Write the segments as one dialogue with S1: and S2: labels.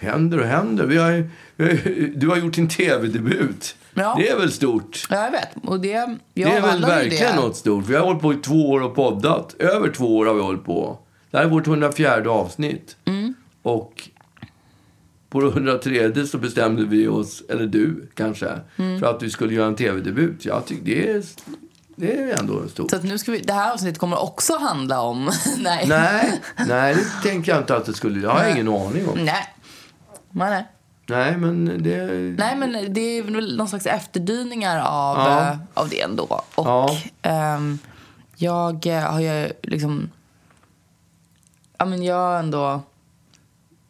S1: händer och händer. Vi har, ju- vi har, ju- du har gjort din tv-debut.
S2: Ja.
S1: Det är väl stort?
S2: Ja, jag vet. Och det, jag
S1: det är väl
S2: avhandlar ju
S1: verkligen
S2: det.
S1: något stort. Vi har hållit på i två år och poddat. Över två år har vi hållit på. Det här är vårt 104 avsnitt.
S2: Mm.
S1: Och på det 103 så bestämde vi oss, eller du kanske,
S2: Mm.
S1: för att vi skulle göra en tv-debut. Jag tycker det är, det är ändå stort.
S2: Så att nu ska vi, det här avsnittet kommer också handla om... nej.
S1: Nej, nej, det tänker jag inte att det skulle. Jag har ingen aning om.
S2: Nej. Nej, nej.
S1: Nej, men det...
S2: Nej, men det är väl någon slags efterdyningar av,
S1: Ja.
S2: eh, av det ändå. Och
S1: Ja.
S2: ehm, jag eh, har ju liksom... Ja, men jag har ändå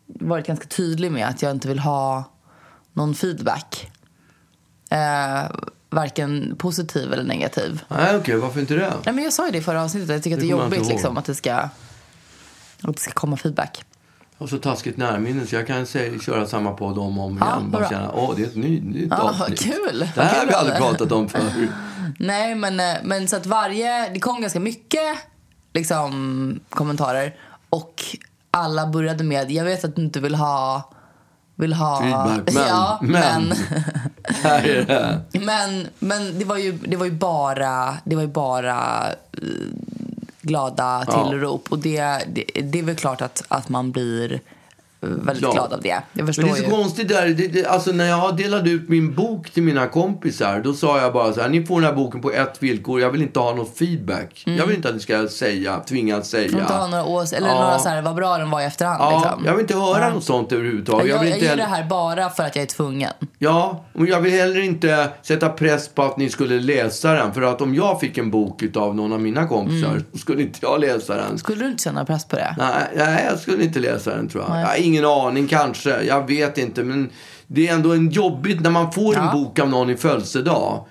S2: varit ganska tydlig med att jag inte vill ha någon feedback. Eh, varken positiv eller negativ.
S1: Nej, okej, varför inte det?
S2: Nej, men jag sa ju det i förra avsnittet. Jag tycker att
S1: Det
S2: det är
S1: kommer jag inte
S2: jobbigt
S1: ihåg.
S2: liksom, att, det ska, att det ska komma feedback.
S1: Jag har så taskigt närminne så jag kan säga, köra samma podd om och om
S2: Ja,
S1: igen. Bara
S2: bra.
S1: känna, åh, det är ett ny, nytt
S2: Ja, vad
S1: avsnitt.
S2: Ah, kul.
S1: Det här har vi
S2: Kul.
S1: aldrig pratat om förut.
S2: Nej, men, eh, men så att varje... Det kom ganska mycket liksom, kommentarer. Och alla började med, jag vet att du inte vill ha... Vill ha...
S1: Feedback, men-
S2: ja,
S1: men.
S2: men.
S1: Här är det.
S2: Men, men det, var ju, det var ju bara, det var ju bara eh, glada
S1: Ja.
S2: tillrop. Och det, det, det är väl klart att, att man blir eh, väldigt
S1: Ja.
S2: glad av det. Jag förstår
S1: Men det är så
S2: ju.
S1: konstigt där. Det, det, alltså när jag delade ut min bok till mina kompisar, då sa jag bara så här, ni får den här boken på ett villkor. Jag vill inte ha någon feedback. Jag vill inte att ni ska säga, tvingas säga.
S2: Mm. Inte ha några ås eller
S1: Ja.
S2: några så här, vad bra den var i efterhand.
S1: Ja,
S2: liksom.
S1: jag vill inte höra något sånt överhuvudtaget.
S2: jag, jag,
S1: vill inte
S2: gör
S1: heller-
S2: det här bara för att jag är tvungen.
S1: Ja, och jag vill heller inte sätta press på att ni skulle läsa den. För att om jag fick en bok utav någon av mina kompisar
S2: Mm.
S1: så skulle inte jag läsa den.
S2: Skulle du inte känna press på det?
S1: Nej, nej, jag skulle inte läsa den tror jag.
S2: Nej.
S1: Jag har ingen aning kanske. Jag vet inte. Men det är ändå en jobbigt när man får
S2: Ja.
S1: en bok av någon i födelsedag.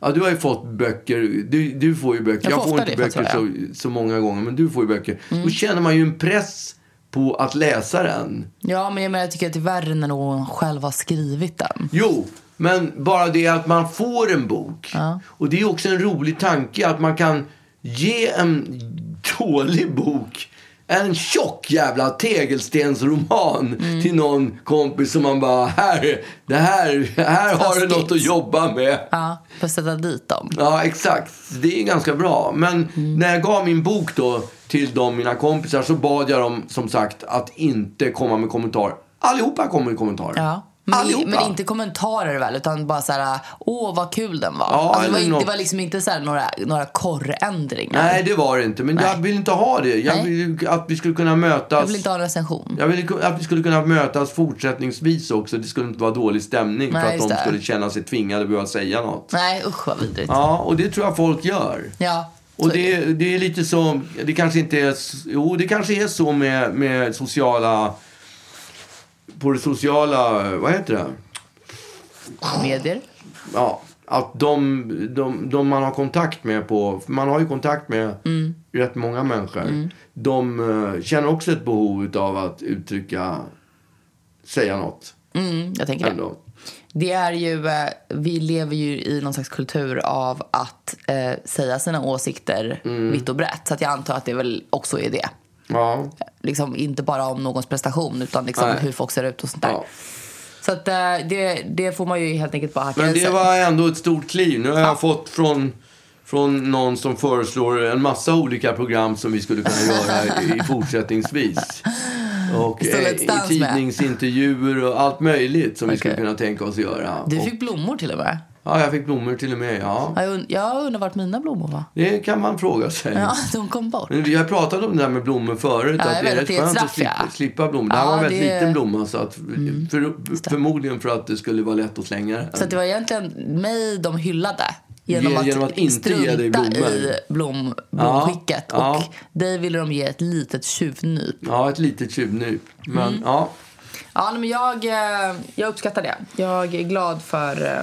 S1: Ja, du har ju fått böcker. Du, du får ju böcker.
S2: Jag Mm.
S1: Jag,
S2: får
S1: får
S2: ofta
S1: inte
S2: det,
S1: böcker
S2: faktiskt,
S1: så, så många gånger. Men du får ju böcker. Då känner man ju en press på att läsa den.
S2: Ja, men jag, menar, jag tycker att det är värre när någon själv har skrivit den.
S1: Jo, men bara det att man får en bok.
S2: Ja.
S1: Och det är också en rolig tanke att man kan ge en dålig bok en tjock jävla tegelstensroman
S2: Mm.
S1: till någon kompis som man bara, här, det här, här har du
S2: Taskigt.
S1: något att jobba med.
S2: Ja, för att sätta dit dem.
S1: Ja, exakt. Det är ganska bra. Men
S2: Mm.
S1: när jag gav min bok då till de mina kompisar så bad jag dem som sagt att inte komma med kommentarer. Allihopa kom med kommentarer.
S2: Ja. Men, i,
S1: Allihopa.
S2: men inte kommentarer väl, utan bara så här, åh vad kul den var.
S1: Ja,
S2: alltså, det, var
S1: eller
S2: inte,
S1: något.
S2: det var liksom inte så här några, några korrändringar.
S1: Nej, det var det inte. Men jag vill inte ha det. Jag
S2: Nej.
S1: vill att vi skulle kunna mötas.
S2: Jag vill inte ha en recension.
S1: Jag vill ku- att vi skulle kunna mötas fortsättningsvis också. Det skulle inte vara dålig stämning
S2: Nej,
S1: för att
S2: just
S1: de
S2: det.
S1: skulle känna sig tvingade att behöva säga något.
S2: Nej, usch vad vidrigt.
S1: Ja, och det tror jag folk gör.
S2: Ja, så
S1: Och
S2: är
S1: det, det är lite så, det kanske inte är, s- jo det kanske är så med, med sociala, på det sociala, vad heter det?
S2: medier.
S1: ja, att de, de, de man har kontakt med på, för man har ju kontakt med
S2: Mm.
S1: rätt många människor. De eh, känner också ett behov av att uttrycka, säga något.
S2: Mm, jag tänker det.
S1: Ändå.
S2: Det är ju, eh, vi lever ju i någon slags kultur av att eh, säga sina åsikter
S1: Mm.
S2: vitt och brett. Så att jag antar att det väl också är det.
S1: Ja.
S2: liksom, inte bara om någons prestation utan liksom
S1: Nej.
S2: hur folk ser ut och sånt där.
S1: ja.
S2: Så att, eh, det, det får man ju helt enkelt bara hacka
S1: Men
S2: i sig.
S1: det var ändå ett stort kliv. Nu har jag fått från, från någon som föreslår en massa olika program som vi skulle kunna göra i, i fortsättningsvis. Och
S2: Istället
S1: eh,
S2: dans med.
S1: i tidningsintervjuer och allt möjligt som vi skulle
S2: Okej.
S1: kunna tänka oss göra.
S2: Du
S1: Och,
S2: fick blommor till och med.
S1: ja, jag fick blommor till och med. Ja.
S2: Ja, Jag, und- jag undrar vart mina blommor var.
S1: Det kan man fråga sig.
S2: Ja, de kom bort.
S1: Men vi har pratat om det här med blommor förut.
S2: Ja, jag
S1: att det
S2: vet
S1: är
S2: att
S1: rätt
S2: det är ett
S1: skönt att
S2: straff, ja.
S1: slippa, slippa blommor. det här
S2: Ja,
S1: var en väldigt
S2: det- Mm,
S1: liten blomma. Så att, för, förmodligen för att det skulle vara lätt att slänga den.
S2: Så att det var egentligen mig de hyllade. Genom
S1: Ge-
S2: att,
S1: genom att inte
S2: strunta
S1: ge dig blommor.
S2: i blom, blomskicket.
S1: Ja,
S2: Och dig ville de ge ett litet tjuvnyp.
S1: Ja, ett litet tjuvnyp. Men
S2: Mm.
S1: ja,
S2: Ja, nej, men jag, eh, jag uppskattar det. Jag är glad för, eh,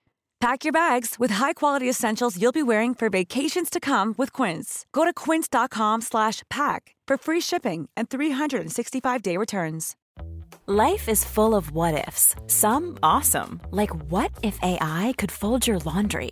S3: Pack your bags with high-quality essentials you'll be wearing for vacations to come with Quince. Go to quince.com/pack for free shipping and 365-day returns.
S4: Life is full of what ifs. Some awesome, like what if AI could fold your laundry?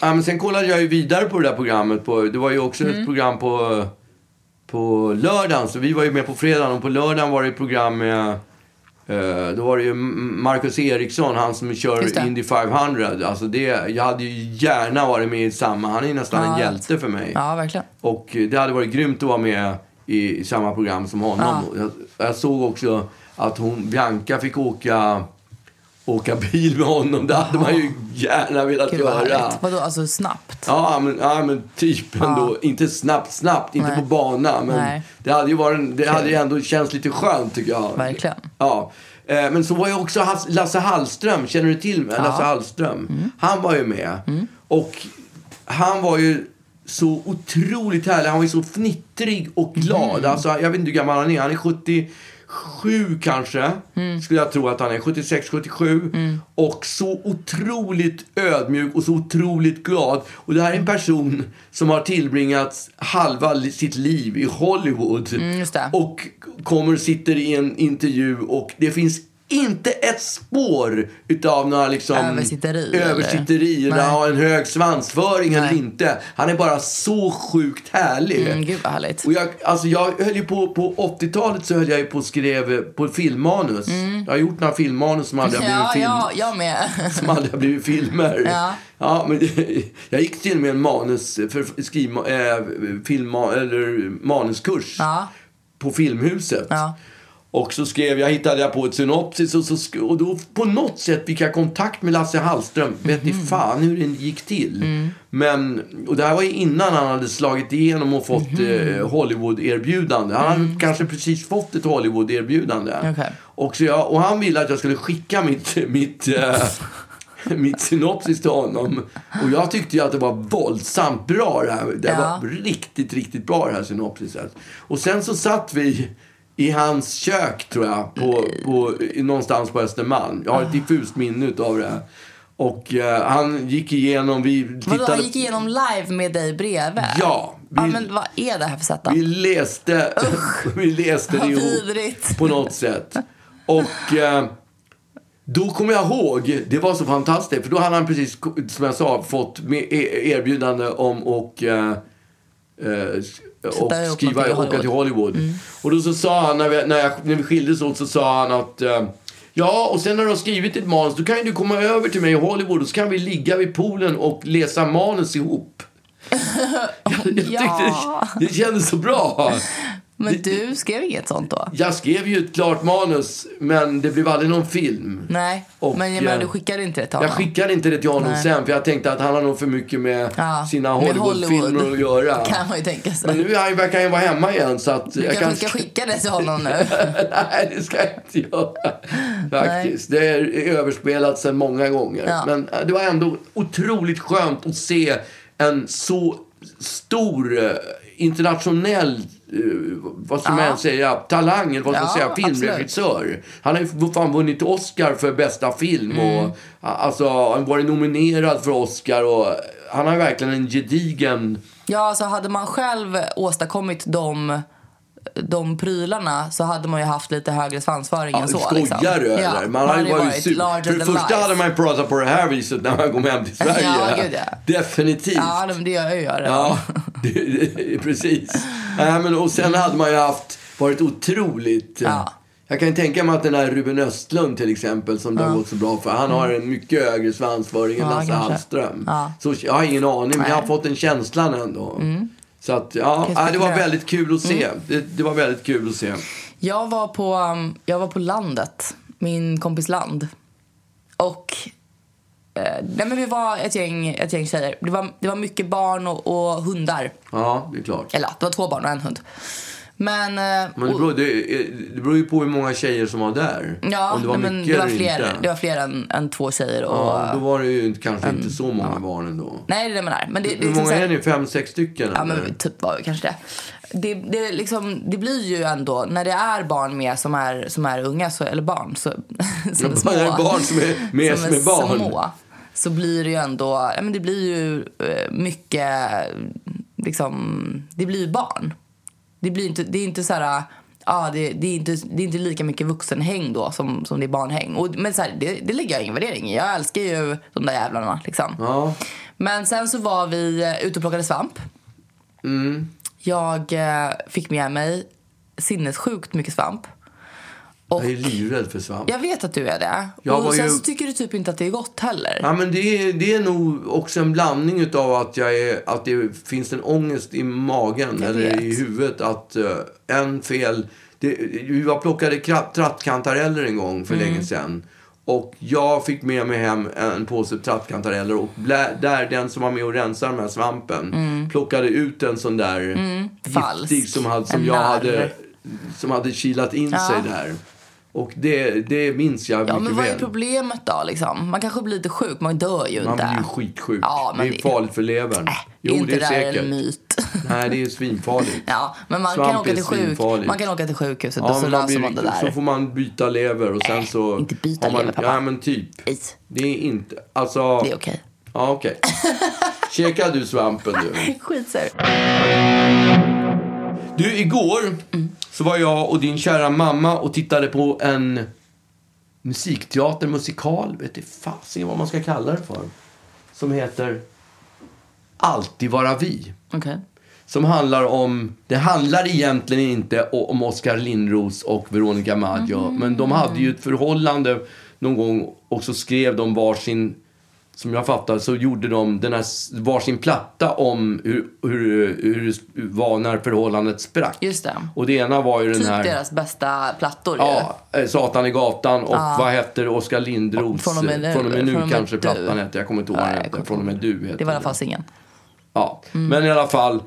S1: Ja, men sen kollade jag ju vidare på det där programmet. På, det var ju också
S2: Mm.
S1: ett program på, på lördagen. Så vi var ju med på fredagen. Och på lördagen var det ett program med... eh, då var det ju M- Marcus Eriksson, han som
S2: Just
S1: kör
S2: det.
S1: Indy 500. Alltså det, jag hade ju gärna varit med i samma. Han är ju nästan en
S2: Ja.
S1: hjälte för mig.
S2: Ja, verkligen.
S1: Och eh, det hade varit grymt att vara med i, i samma program som honom. Jag, jag såg också att hon, Bianca fick åka, åka bil med honom. Det hade man ju gärna velat
S2: Gud vad
S1: göra.
S2: härligt. Vadå, alltså snabbt?
S1: Ja men, ja, men typ ändå. Inte snabbt, snabbt, inte
S2: Nej.
S1: på bana. Men
S2: Nej.
S1: det hade ju varit, en- det hade ju ändå känts lite skönt tycker jag.
S2: Verkligen.
S1: Ja. Eh, Men så var ju också Hass- Lasse Hallström, känner du till mig? Lasse Hallström. Han var ju med. Och han var ju så otroligt härlig. Han var ju så fnittrig och glad. Alltså, jag vet inte hur gammal han är. Han är 77 kanske. Skulle jag tro att han är. 76, 77. Och så otroligt ödmjuk och så otroligt glad. Och det här är en person som har tillbringat halva li- sitt liv i Hollywood.
S2: Mm, just det.
S1: Och kommer och sitter i en intervju och det finns inte ett spår utav några liksom
S2: Översitteri, eller?
S1: översitteri eller
S2: Nej.
S1: ha en hög svansföring eller
S2: Nej.
S1: inte. Han är bara så sjukt härlig.
S2: Mm, gud vad härligt.
S1: Och jag, alltså jag höll ju på, på 80-talet så höll jag ju på och skrev eh, på filmmanus. Jag har gjort några filmmanus som aldrig har blivit
S2: Mm. Ja,
S1: film
S2: ja, jag med.
S1: som aldrig har blivit filmer.
S2: Ja.
S1: Ja, men jag gick till och med en manus, för, skriv, eh, film, eller manuskurs
S2: Ja.
S1: på Filmhuset.
S2: Ja.
S1: Och så skrev jag, hittade jag på ett synopsis och, så, sk- och då på något sätt fick jag kontakt med Lasse Hallström. Vet
S2: Mhm.
S1: ni fan hur det gick till.
S2: Mm.
S1: Men, och det här var ju innan han hade slagit igenom och fått
S2: Mhm.
S1: eh, Hollywood-erbjudande. Han
S2: Mm.
S1: hade kanske precis fått ett Hollywood-erbjudande.
S2: Okej.
S1: Och, så jag, och han ville att jag skulle skicka mitt, mitt, eh, mitt synopsis till honom. Och jag tyckte ju att det var våldsamt bra det här. Det
S2: Ja.
S1: var riktigt, riktigt bra det här synopsiset. Och sen så satt vi i hans kök tror jag, på, på, i- någonstans på Östermalm. Jag har
S2: Ah.
S1: ett diffust minne av det. Och eh, han gick igenom, vi tittade...
S2: Vadå, han gick igenom live med dig bredvid?
S1: Ja, vi-
S2: ja men vad är det här för setup?
S1: Vi läste, vi läste det
S2: Vad
S1: ihop
S2: vidrigt.
S1: på något sätt. Och eh, då kommer jag ihåg, det var så fantastiskt, för då hade han precis, som jag sa, fått med- e- erbjudande om och, eh, eh, och
S2: ihop
S1: skriva
S2: någonting i
S1: och åka till Hollywood. Mm. Och då så sa han, när vi, när, jag, när vi skildes åt, så sa han att eh, Ja, och sen när du har skrivit ditt manus, då kan ju du komma över till mig i Hollywood och så kan vi ligga vid poolen och läsa manus ihop. Jag tyckte
S2: Ja.
S1: det, det kändes så bra.
S2: Men du skrev inget sånt då?
S1: Jag skrev ju ett klart manus, men det blev aldrig någon film.
S2: Nej,
S1: Och,
S2: men jag menar,
S1: eh,
S2: du skickade inte det till
S1: Jag
S2: honom?
S1: skickade inte det till honom
S2: Nej.
S1: sen, för jag tänkte att han har nog för mycket med
S2: Ja,
S1: sina
S2: med
S1: Hollywoodfilmer
S2: Hollywood.
S1: att göra.
S2: kan man ju tänka sig.
S1: Men nu är han, verkar han ju vara hemma igen, så att
S2: du
S1: jag
S2: kanske
S1: kan...
S2: ska skicka det till honom nu?
S1: Nej, det ska jag inte göra. Faktiskt. Det är överspelat sedan många gånger.
S2: Ja.
S1: Men eh, det var ändå otroligt skönt att se en så stor eh, internationell, eh, vad ska man säga, talang, eller vad ska man
S2: Ja,
S1: säga,
S2: absolut.
S1: filmregissör. Han har ju fan vunnit Oscar för bästa film
S2: Mm.
S1: och a- alltså, han varit nominerad för Oscar och han har ju verkligen en gedigen
S2: Ja, alltså hade man själv åstadkommit de, de prylarna så hade man ju haft lite högre svansföring än så.
S1: Skojar
S2: liksom.
S1: du eller?
S2: Ja,
S1: man hade ju varit sur.
S2: larger
S1: För det
S2: than
S1: första
S2: life.
S1: hade man ju pratat på det här viset när man kom hem till Sverige.
S2: Ja, gud, ja.
S1: Definitivt.
S2: Ja, men det gör jag ju redan.
S1: Ja, det, det, precis. Äh, men, och sen hade man ju haft, varit otroligt... eh,
S2: Ja.
S1: Jag kan ju tänka mig att den här Ruben Östlund till exempel, som det har gått så bra för, han har en mycket högre svansföring än
S2: Mm. Ja,
S1: Lasse
S2: kanske.
S1: Hallström.
S2: Ja.
S1: Så jag har ingen aning, men jag har
S2: Nej. Mm.
S1: fått den känslan ändå. Så att, ja, äh,
S2: Kan
S1: det var
S2: spekulera.
S1: väldigt kul att
S2: Mm.
S1: se. Det, det var väldigt kul att se.
S2: Jag var på, um, jag var på landet, min kompis land. Och eh, nej, men vi var ett gäng, ett gäng tjejer. Det var, det var mycket barn och, och hundar.
S1: Ja, det är klart.
S2: Eller ja, det var två barn och en hund. Men, eh,
S1: Men det
S2: och-
S1: beror, det, det beror ju på hur många tjejer som var där.
S2: ja,
S1: Om det var
S2: nej, men
S1: mycket
S2: det var
S1: eller
S2: fler,
S1: inte.
S2: det var fler än, än två tjejer. Och,
S1: ja, då var det ju inte, kanske inte så många barn ändå.
S2: Nej, det är det jag menar. Men det, det, är
S1: hur
S2: liksom
S1: många
S2: så här-
S1: är ni? Fem, sex stycken?
S2: Ja,
S1: eller?
S2: men typ var det kanske det. Det, det, är liksom, det blir ju ändå, när det är barn med som är, som är unga, så, eller barn, så, som
S1: Ja, bara är barn som är med som är barn.
S2: små, så blir det ju ändå, ja, men det blir ju eh, mycket, liksom, det blir ju barn. Det, blir inte, det är inte så här, ja, det, det, är inte, det är inte lika mycket vuxenhäng då som, som det är barnhäng. Och, men så här, det, det lägger jag ingen värdering i. Jag älskar ju de där jävlarna liksom.
S1: Ja.
S2: Men sen så var vi eh, ute och plockade svamp.
S1: Mm.
S2: Jag eh, fick med mig sinnessjukt mycket svamp. Och
S1: Jag är livrädd för svamp.
S2: jag vet att du är det.
S1: Jag var
S2: och sen
S1: ju-
S2: så tycker du typ inte att det är gott heller.
S1: Ja, men det, är, det är nog också en blandning utav att, jag är, att det finns en ångest i magen
S2: Jag
S1: eller
S2: vet.
S1: i huvudet att eh, en fel... Det, vi var plockade kratt, trattkantareller en gång
S2: Mm.
S1: för länge sedan. Och jag fick med mig hem en påse trattkantareller och blä, där den som var med och rensade den här svampen plockade ut en sån där giftig
S2: Mm. falsk.
S1: som, hade, som
S2: En
S1: jag
S2: narr.
S1: hade, som hade kilat in sig där. Och det, det minns jag
S2: Ja,
S1: mycket
S2: men vad är
S1: väl.
S2: problemet då liksom? Man kanske blir lite sjuk, man dör ju
S1: Man
S2: inte.
S1: blir ju skitsjuk.
S2: Ja, men
S1: det är farligt för levern.
S2: Äh, är inte det där en myt?
S1: Nej, det är svinfarligt.
S2: ja, men man
S1: Svamp
S2: kan, åka
S1: är
S2: till sjuk...
S1: svinfarligt.
S2: man kan åka till sjukhuset
S1: Ja,
S2: och så
S1: men man
S2: löser
S1: blir
S2: man det
S1: riktigt-
S2: där.
S1: Så får man byta lever och sen
S2: Nej,
S1: så...
S2: inte byta
S1: har man,
S2: lever, pappa.
S1: Ja, men typ.
S2: Nej,
S1: Det är inte... Alltså...
S2: Det är okej.
S1: Ja, okej. Käkar du svampen du?
S2: Skitser.
S1: Du, igår
S2: Mm.
S1: så var jag och din kära mamma och tittade på en musikteater, musikal, vet inte fasen vad man ska kalla det för. Som heter Alltid vara vi.
S2: Okej.
S1: som handlar om... Det handlar egentligen inte o- om Oskar Lindros och Veronica Maggio.
S2: Mm.
S1: Men de hade ju ett förhållande någon gång och så skrev de varsin... Som jag fattar så gjorde de den här, s- varsin platta om hur, hur, hur det sp- var när förhållandet sprack.
S2: Just det.
S1: Och det ena var ju den
S2: Typ
S1: här...
S2: deras bästa plattor
S1: Ja, eh, Satan i gatan och vad heter Oskar Lindros? eh,
S2: Från och med nu-
S1: från och med nu
S2: från och med
S1: kanske
S2: du.
S1: plattan hette. Jag kommer inte ihåg vad
S2: Nej,
S1: den
S2: jag
S1: hette.
S2: kommer
S1: Från och med du hette
S2: ju. Det var i alla
S1: den.
S2: fall singeln.
S1: Ja,
S2: Mm.
S1: men i alla fall.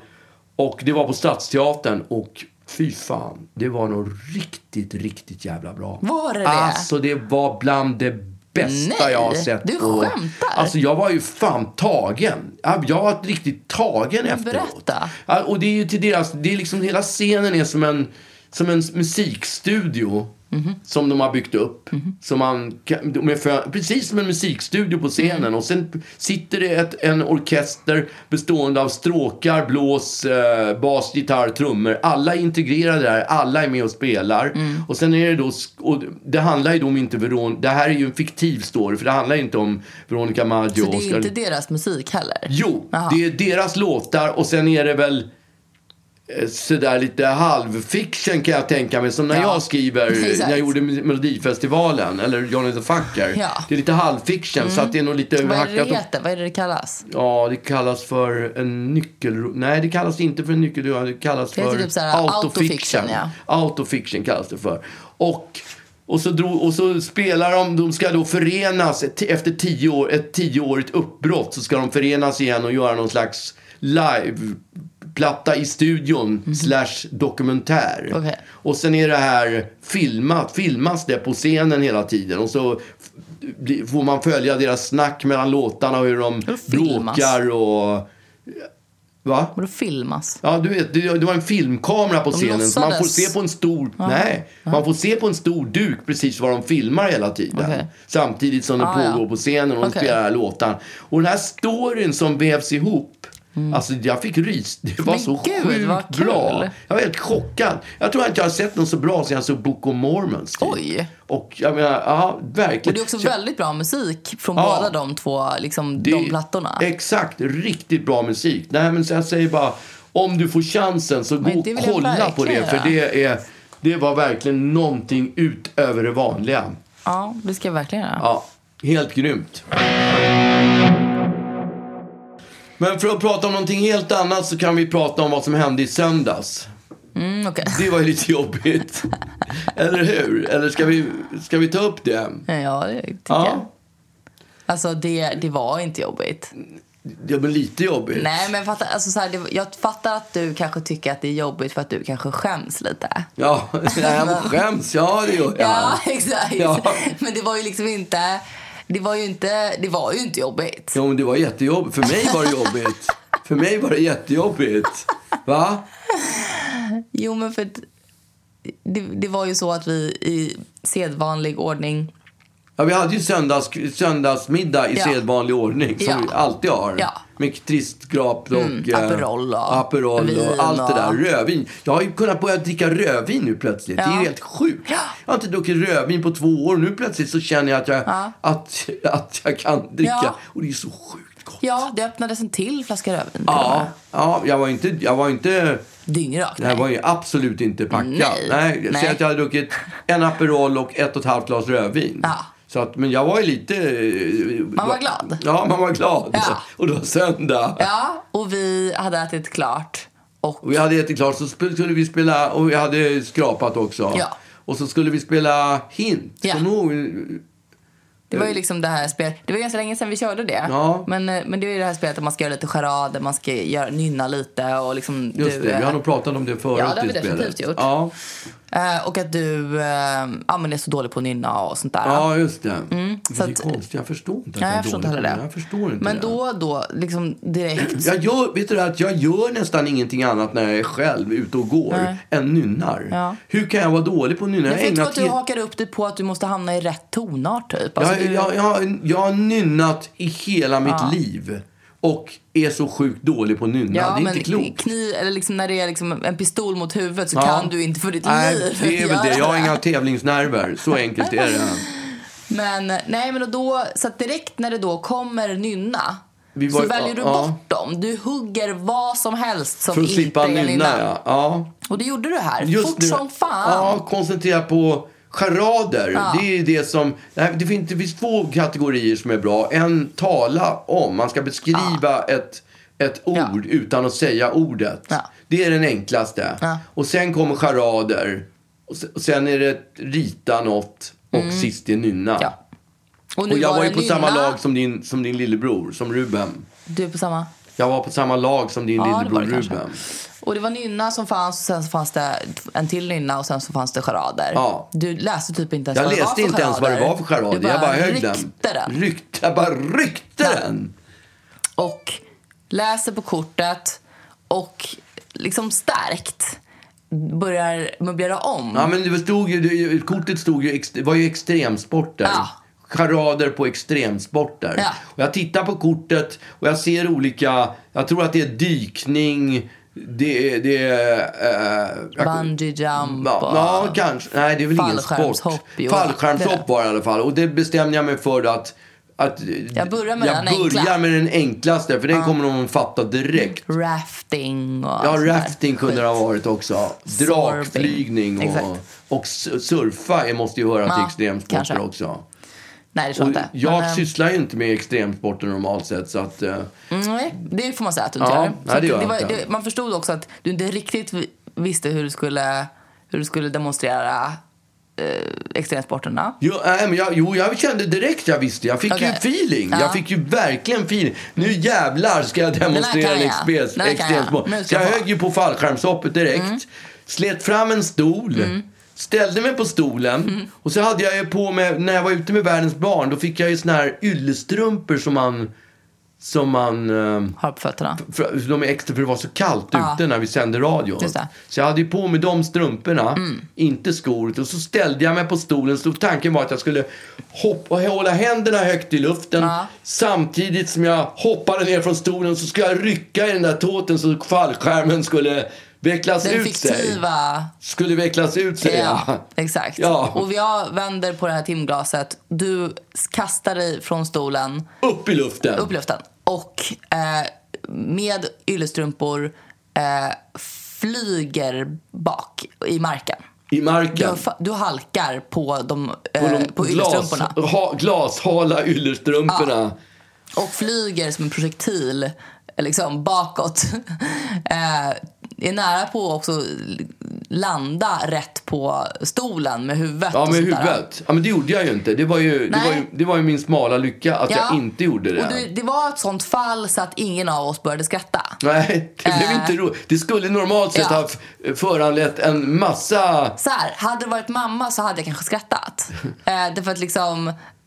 S1: Och det var på Stadsteatern och fy fan, det var nog riktigt, riktigt jävla bra.
S2: Var det det?
S1: Alltså det var bland det bästa
S2: Nej,
S1: jag har sett.
S2: du
S1: på-
S2: skämtar.
S1: Alltså jag var ju fan tagen. Ja, Jag var riktigt tagen efteråt.
S2: Berätta.
S1: Ja, Och det är ju till deras, det är liksom hela scenen är som en, som en musikstudio.
S2: Mhm.
S1: Som de har byggt upp. Som man, kan- de är för, precis som en musikstudio på scenen.
S2: Mhm.
S1: Och sen sitter det ett, en orkester bestående av stråkar, blås, eh, bas, gitarr, trummor. Alla är integrerade där. Alla är med och spelar.
S2: Mm.
S1: Och sen är det då... sk- Och det handlar ju då om inte Veronica... Det här är ju en fiktiv story. För det handlar inte om Veronica Maggio
S2: Så det
S1: och
S2: är
S1: Oscar
S2: inte deras musik heller?
S1: Jo,
S2: Jaha.
S1: det är deras låtar och sen är det väl eh, sådär lite halvfiction kan jag tänka mig. Som när
S2: Ja.
S1: jag skriver,
S2: Exakt.
S1: när jag gjorde Melodifestivalen eller Johnny the Fucker.
S2: Ja. Mm.
S1: Det är lite halvfiction så att det är nog lite
S2: Vad är det
S1: hackat
S2: det
S1: och
S2: heter? Vad är det det kallas?
S1: Ja, det kallas för en nyckel... Nej, det kallas inte för en nyckelroman. Det kallas
S2: Det heter
S1: för
S2: typ så här autofiction,
S1: Autofiction kallas det för. Och, och, så, drog, och så spelar de... De ska då förenas ett, efter tio år, ett tioårigt uppbrott. Så ska de förenas igen och göra någon slags liveplatta i studion slash dokumentär.
S2: Mhm. Okej.
S1: Och sen är det här filmat, filmas det på scenen hela tiden. Och så f- bli- får man följa deras snack mellan låtarna och hur de
S2: Och filmas.
S1: bråkar och... Va?
S2: Vadå filmas?
S1: Ja, du vet, det det var en filmkamera på scenen. Så man får
S2: låtsades.
S1: se på en stor... Nej, man får se på en stor duk precis vad de filmar hela tiden.
S2: Okej.
S1: Samtidigt som det
S2: Ah,
S1: pågår
S2: ja.
S1: på scenen och de
S2: Okej.
S1: spelar låtar. Och den här storyn som vävs ihop. Alltså jag fick rys. Det var
S2: Mm. Men
S1: så
S2: gud,
S1: sjukt
S2: vad kul.
S1: bra. Jag var helt chockad. Jag tror inte jag har sett någon så bra sen jag såg Book of Mormons. Typ.
S2: Oj.
S1: Och jag menar, ja,
S2: Och
S1: verkligen.
S2: det är också
S1: Så-
S2: väldigt bra musik från
S1: Ja.
S2: båda de två, liksom
S1: det
S2: de
S1: är-
S2: plattorna.
S1: Exakt, riktigt bra musik. Nej, men så jag säger bara, om du får chansen så gå
S2: Men
S1: och
S2: det vill jag
S1: kolla på det.
S2: verkligen
S1: För
S2: göra.
S1: det, är, det var verkligen någonting utöver det vanliga.
S2: Ja, det ska jag verkligen göra.
S1: Ja, helt grymt. Men för att prata om någonting helt annat så kan vi prata om vad som hände i söndags.
S2: Mm, okej.
S1: Det var ju lite jobbigt. Eller hur? Eller ska vi, ska vi ta upp det?
S2: Ja, det tycker
S1: Ja.
S2: jag. Alltså det, det var inte jobbigt.
S1: Ja, men lite jobbigt.
S2: Nej men fattar, alltså så här, det, jag fattar att du kanske tycker att det är jobbigt för att du kanske skäms lite.
S1: Ja, jag skäms. Ja, det gör jag.
S2: Ja, exakt.
S1: Ja.
S2: Men det var ju liksom inte, det var ju inte, det var ju inte jobbigt.
S1: Ja, men det var jättejobbigt. För mig var det jobbigt. För mig var det jättejobbigt. Va?
S2: Jo, men för att det, det var ju så att vi i sedvanlig ordning...
S1: Ja, vi hade ju söndags, söndagsmiddag i
S2: Ja.
S1: sedvanlig ordning, som
S2: Ja.
S1: vi alltid har.
S2: Ja. Mm,
S1: Med tristgrap och... eh,
S2: Aperol och
S1: Aperol
S2: vin
S1: och allt det där.
S2: och-
S1: Rödvin. Jag har ju kunnat börja dricka rödvin nu plötsligt. Det är
S2: Ja.
S1: ju helt sjukt. Jag har inte druckit rödvin på två år. Nu plötsligt så känner jag att jag,
S2: Ja.
S1: att, att jag kan dricka.
S2: Ja.
S1: Och det är så sjukt gott.
S2: Ja, det öppnades en till flaska rödvin.
S1: Ja, ja jag var inte... Jag var inte
S2: Dyngrakt.
S1: det här var ju absolut inte packat.
S2: Nej.
S1: Nej,
S2: Nej.
S1: Säg att jag hade druckit en Aperol och ett och ett halvt glas rödvin.
S2: Ja.
S1: Så att, men jag var ju lite... eh,
S2: Man var glad.
S1: Ja, man var glad.
S2: Ja.
S1: Och det var söndag.
S2: Ja, och vi hade ätit klart. Och
S1: Och vi hade ätit klart, så sp- skulle vi spela... Och vi hade skrapat också.
S2: Ja.
S1: Och så skulle vi spela Hint.
S2: Ja.
S1: Kommer du ihåg?
S2: det var ju liksom det här spelet. Det var ganska länge sedan vi körde det.
S1: Eh. Ja.
S2: Men, eh, men det är ju det här spelet där man ska göra lite charader, man ska göra, nynna lite och liksom...
S1: Just
S2: du,
S1: det, vi
S2: eh,
S1: har nog pratat om det förut.
S2: Ja, det har vi
S1: i spelet.
S2: definitivt gjort.
S1: Ja,
S2: eh, och att du eh, ja, men är så dålig på att nynna och sånt där.
S1: ja just det.
S2: Mm. så
S1: det är
S2: att-
S1: konstigt, jag förstår inte att
S2: Nej,
S1: jag är
S2: jag förstår inte
S1: dålig
S2: heller
S1: på
S2: det.
S1: Jag förstår inte
S2: men
S1: det.
S2: då, då, liksom direkt.
S1: Jag gör, vet du, att jag gör nästan ingenting annat när jag är själv ute och går än nynnar.
S2: Ja.
S1: Hur kan jag vara dålig på att nynna?
S2: Jag
S1: har
S2: fick
S1: ägnat
S2: att du
S1: he-
S2: hakar upp dig på att du måste hamna i rätt tonart typ. Alltså,
S1: jag,
S2: du...
S1: jag, jag, har- jag har nynnat i hela mitt liv och är så sjukt dålig på att nynna.
S2: Ja,
S1: det är
S2: men
S1: inte klokt.
S2: kniv, eller liksom när det är liksom en pistol mot huvudet så
S1: Ja.
S2: kan du inte för ditt
S1: Nej,
S2: liv
S1: det är väl
S2: göra
S1: det. Jag har inga tävlingsnerver. Så enkelt är det.
S2: Men nej, men och då, så att direkt när det då kommer nynna
S1: Vi
S2: så
S1: var-
S2: väljer du
S1: ja.
S2: bort dem. Du hugger vad som helst som
S1: För att
S2: inte
S1: slippa
S2: är
S1: nynna,
S2: nynna.
S1: ja. ja.
S2: Och det gjorde du här,
S1: Just
S2: fort
S1: nu-
S2: som fan.
S1: Ja, koncentrera på charader.
S2: Ja.
S1: Det är ju det som... Det, här, det, finns, det finns två kategorier som är bra. En, tala om. Man ska beskriva ett, ett ord
S2: Ja.
S1: utan att säga ordet.
S2: Ja.
S1: Det är den enklaste.
S2: Ja.
S1: Och sen kommer charader. Och se- och sen är det rita något. Och sist är nynna.
S2: Mm. Ja. nu
S1: Och jag var ju
S2: det
S1: på samma
S2: nynna.
S1: lag som din, som din lillebror, som Ruben.
S2: Du är på samma?
S1: Jag var på samma lag som din
S2: Ja, det var
S1: lillebror
S2: det kanske.
S1: Ruben.
S2: Och det var nynna som fanns, och sen så fanns det en till nynna och sen så fanns det charader.
S1: Ja.
S2: Du läste typ inte ens
S1: Jag
S2: vad det var
S1: läste
S2: för
S1: inte ens vad det
S2: charader.
S1: var för charad.
S2: Du bara
S1: jag bara högg
S2: ryckte
S1: den.
S2: den.
S1: Ryckte, jag bara ryckte den.
S2: och läser på kortet och liksom starkt börjar möblera om.
S1: Ja, men det stod ju, det, kortet stod ju, ex- det var ju extremsporter.
S2: Ja.
S1: Charader på extremsporter.
S2: Ja.
S1: Och jag tittar på kortet och jag ser olika, jag tror att det är dykning, det är... Det är eh, jag-
S2: Bungee jump
S1: Ja,
S2: och...
S1: ja, kanske. Nej, det är väl ingen sport.
S2: Fallskärmshopp, jo, det är
S1: Fallskärmshopp
S2: det.
S1: var det i alla fall. Och det bestämde jag mig för att... att
S2: Jag börjar med
S1: jag
S2: den enkla.
S1: börjar med den enklaste, för den kommer någon fatta direkt.
S2: Rafting och
S1: Ja,
S2: sånt där
S1: rafting kunde det ha
S2: skit.
S1: varit också. Drakflygning och,
S2: Exakt.
S1: och s- surfa måste ju höra till
S2: Ja,
S1: extremsporter
S2: kanske.
S1: också.
S2: Nej, det tror
S1: Och
S2: jag inte.
S1: jag
S2: Men, eh,
S1: sysslar ju inte med extremsporter normalt sett. Så att, eh,
S2: mm, Nej, det får man säga att du inte
S1: Ja,
S2: gör.
S1: nej,
S2: Så
S1: det
S2: att
S1: gör jag
S2: var,
S1: inte.
S2: det, Man förstod också att du inte riktigt vi- visste hur du skulle, hur du skulle demonstrera eh, extremsporterna.
S1: jo, nej, men jag, jo, jag kände direkt, jag visste. Jag fick ju
S2: Okej.
S1: feeling.
S2: Ja.
S1: Jag fick ju verkligen feeling. Nu jävlar ska jag demonstrera
S2: Den här kan jag.
S1: expres-
S2: Den här kan jag.
S1: extremsport.
S2: Nu
S1: Så
S2: ska
S1: jag
S2: jag få. Mm.
S1: högg ju på fallskärmshoppet direkt. Slet fram en stol. Ställde mig på stolen
S2: Mm.
S1: och så hade jag ju på mig, när jag var ute med världens barn, då fick jag ju såna här yllestrumpor som man, som man eh,
S2: Har på fötterna.
S1: för, de är extra för det var så kallt
S2: Ja.
S1: ute när vi sände radio.
S2: Just det. Mm.
S1: Så jag hade ju på mig de strumporna, inte skor. Och så ställde jag mig på stolen. Så tanken var att jag skulle hoppa, hålla händerna högt i luften.
S2: Ja.
S1: Samtidigt som jag hoppade ner från stolen så skulle jag rycka i den där tåten så fallskärmen skulle vecklas
S2: Den
S1: ut sig.
S2: fiktiva...
S1: Skulle vecklas ut sig, ja.
S2: Ja, exakt.
S1: Ja.
S2: Och jag vänder på det här timglaset. Du kastar dig från stolen,
S1: Upp i luften.
S2: upp i luften och eh, med yllestrumpor eh, flyger bak i marken.
S1: I
S2: Du,
S1: marken.
S2: fa- du halkar på, de,
S1: På
S2: eh,
S1: de
S2: på
S1: glas,
S2: yllestrumporna
S1: ha, glashala yllestrumporna.
S2: och flyger som en projektil eh, liksom, bakåt. eh, är nära på också landa rätt på stolen med huvudet.
S1: Ja,
S2: och
S1: med
S2: sånt där.
S1: huvudet. Ja, men det gjorde jag ju inte. Det var ju, det
S2: Nej.
S1: var ju, det var ju min smala lycka att
S2: Ja.
S1: jag inte gjorde det.
S2: Och du, det var ett sånt fall så att ingen av oss började skratta.
S1: Nej, det blev
S2: Eh.
S1: inte roligt. Det skulle normalt sett
S2: Ja.
S1: ha f- föranlett en massa...
S2: Så här, hade det varit mamma så hade jag kanske skrattat. eh, därför att liksom...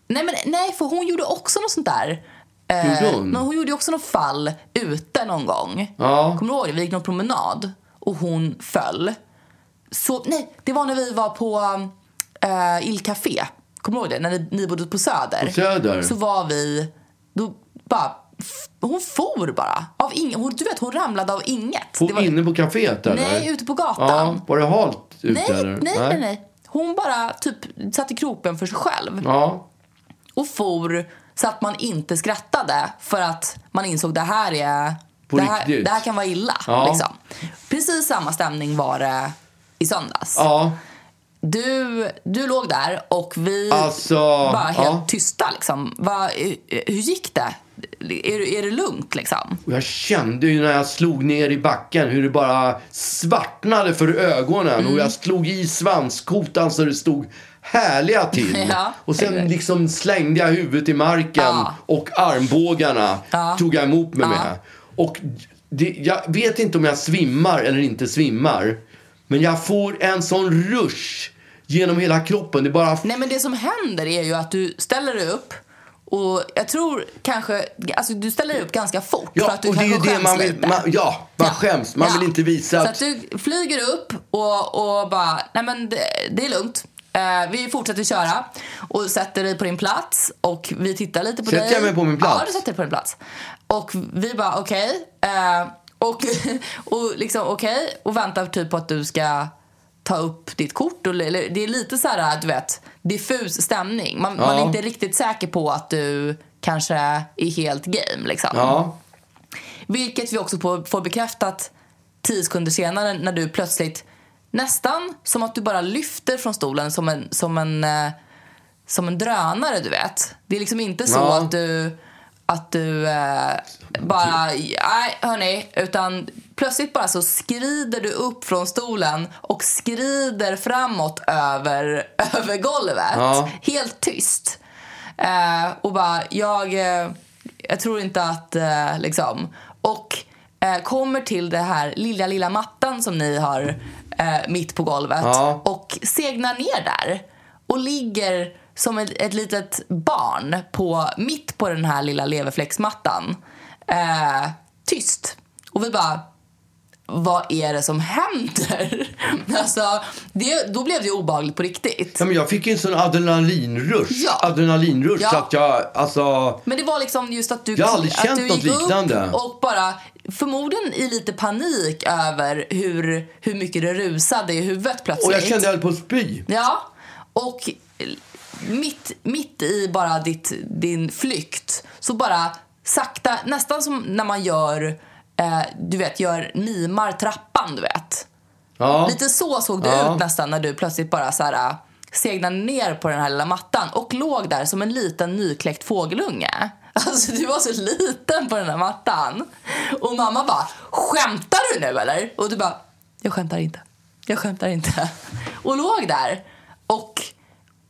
S2: Nej, men, nej, för hon gjorde också något sånt där. Eh,
S1: Gjorde hon?
S2: nå- hon gjorde ju också något fall ute någon gång.
S1: Ja.
S2: Kommer du ihåg det? Vi gick någon promenad och hon föll. Så, nej, det var när vi var på eh, Il Café. Kommer du ihåg det? När ni, ni bodde på Söder.
S1: På Söder.
S2: Så var vi... Då bara, f- hon for bara. Av ing- hon, du vet, hon ramlade av inget.
S1: På,
S2: Det var-
S1: Inne på kaféet eller?
S2: Nej, ute på gatan.
S1: Ja, var det halt ute
S2: Nej,
S1: eller?
S2: nej, nej, nej. Hon bara typ satt i kropen för sig själv
S1: Ja,
S2: och for så att man inte skrattade för att man insåg det här är...
S1: På
S2: det, här,
S1: riktigt.
S2: det här kan vara illa.
S1: Ja.
S2: Liksom. Precis samma stämning var det i söndags.
S1: ja.
S2: Du, du låg där och vi
S1: Alltså,
S2: var helt
S1: ja.
S2: tysta. Liksom. Va, hur gick det? Är, du- är det lugnt? Liksom?
S1: Och jag kände ju när jag slog ner i backen hur det bara svartnade för ögonen
S2: Mm.
S1: och jag slog i svanskotan så det stod härliga till.
S2: Ja,
S1: och sen
S2: exakt.
S1: liksom slängde jag huvudet i marken
S2: Ja.
S1: och armbågarna
S2: Ja.
S1: tog jag emot mig
S2: Ja.
S1: med. Och det, jag vet inte om jag svimmar eller inte svimmar, men jag får en sån rush genom hela kroppen. Det bara
S2: Alltså, Nej men det som händer är ju att du ställer dig upp och jag tror kanske, alltså du ställer dig upp ganska fort för att du
S1: och det är
S2: kanske
S1: ju det
S2: skäms
S1: man vill,
S2: lite.
S1: man, ja, man skäms. Man
S2: Ja.
S1: vill inte visa
S2: Så
S1: att
S2: att du flyger upp och, och bara, nej men det, det är lugnt. Eh, vi fortsätter köra och sätter dig på din plats och vi tittar lite på
S1: Sätter
S2: dig.
S1: jag mig på min plats?
S2: Ja, du sätter dig på din plats. Och vi bara okej. eh, och, och liksom okej och väntar typ på att du ska ta upp ditt kort. Och, eller, det är lite så här, du vet, diffus stämning. Man, man är
S1: Ja.
S2: inte riktigt säker på att du kanske är helt game liksom.
S1: Ja,
S2: Vilket vi också på- får bekräftat tio sekunder senare när du plötsligt nästan som att du bara lyfter från stolen som en, som en, eh, som en drönare, du vet. Det är liksom inte så
S1: Ja.
S2: att du, att du eh, bara, nej hörni, utan plötsligt bara så skrider du upp från stolen och skrider framåt över, över golvet.
S1: Ja.
S2: Helt tyst. Eh, och bara, jag, eh, jag tror inte att, eh, liksom. Och eh, kommer till det här lilla, lilla mattan som ni har eh, mitt på golvet
S1: Ja.
S2: och segnar ner där och ligger som ett, ett litet barn på, mitt på den här lilla leverfläcksmattan. Eh, tyst. Och vi bara, vad är det som händer? alltså, det, då blev det ju obehagligt på riktigt.
S1: Ja, men jag fick ju en sån adrenalinrush.
S2: Ja.
S1: Adrenalinrush
S2: Ja.
S1: så att jag, alltså...
S2: Men det var liksom just att du,
S1: Jag har aldrig
S2: att
S1: känt
S2: du
S1: något
S2: gick upp
S1: liknande.
S2: och bara förmodligen i lite panik över hur, hur mycket det rusade i huvudet plötsligt.
S1: Och jag kände jag höll på att spy.
S2: Ja, och mitt, mitt i bara ditt, din flykt så bara sakta, nästan som när man gör, eh, du vet, gör mimar trappan, du vet.
S1: Ja.
S2: Lite så såg det
S1: Ja.
S2: ut nästan när du plötsligt bara så här, äh, segnade ner på den här lilla mattan och låg där som en liten nykläckt fågelunge. Alltså du var så liten på den här mattan. Och mamma bara, skämtar du nu eller? Och du bara, jag skämtar inte. Jag skämtar inte. Och låg där. Och,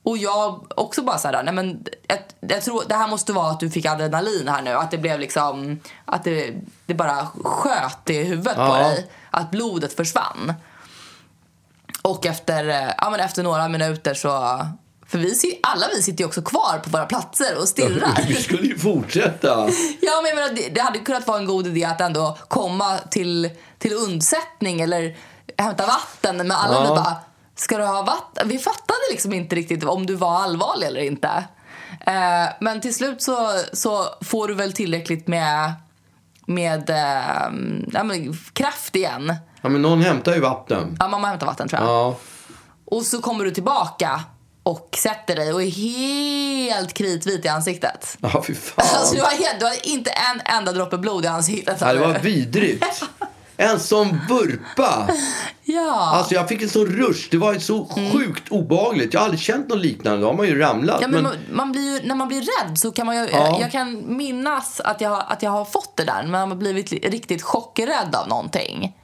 S2: och jag också bara så här, nej men jag, jag tror det här måste vara att du fick adrenalin här nu. Att det blev liksom, att det, det bara sköt i huvudet på
S1: Ja.
S2: dig. Att blodet försvann. Och efter, eh, ja, men efter några minuter så... För vi, sit- alla vi sitter ju också kvar på våra platser och stirrar.
S1: Vi skulle ju fortsätta.
S2: Ja, men jag menar, det, det hade kunnat vara en god idé att ändå komma till, till undsättning eller hämta vatten. Men alla
S1: Ja.
S2: nu bara, ska du ha vatten? Vi fattade liksom inte riktigt om du var allvarlig eller inte. Eh, men till slut så, så får du väl tillräckligt med, med eh, ja, men, kraft igen.
S1: Ja, men någon hämtar ju vatten.
S2: Ja, mamma hämtar vatten tror jag.
S1: Ja.
S2: Och så kommer du tillbaka och sätter dig och är helt kritvit i ansiktet.
S1: Ja, fy fan.
S2: Alltså, du, har helt, du har inte en enda droppe blod i ansiktet.
S1: Ja, det var vidrigt. En sån vurpa.
S2: Ja.
S1: Alltså jag fick en sån rush. Det var ju så sjukt obehagligt. Jag har aldrig känt något liknande. Då har man ju ramlat.
S2: Mm. Ja, men man, man blir ju, när man blir rädd så kan man ju, jag,
S1: Ja.
S2: jag kan minnas att jag, har- att jag har fått det där, men man har blivit li- riktigt chockrädd av någonting.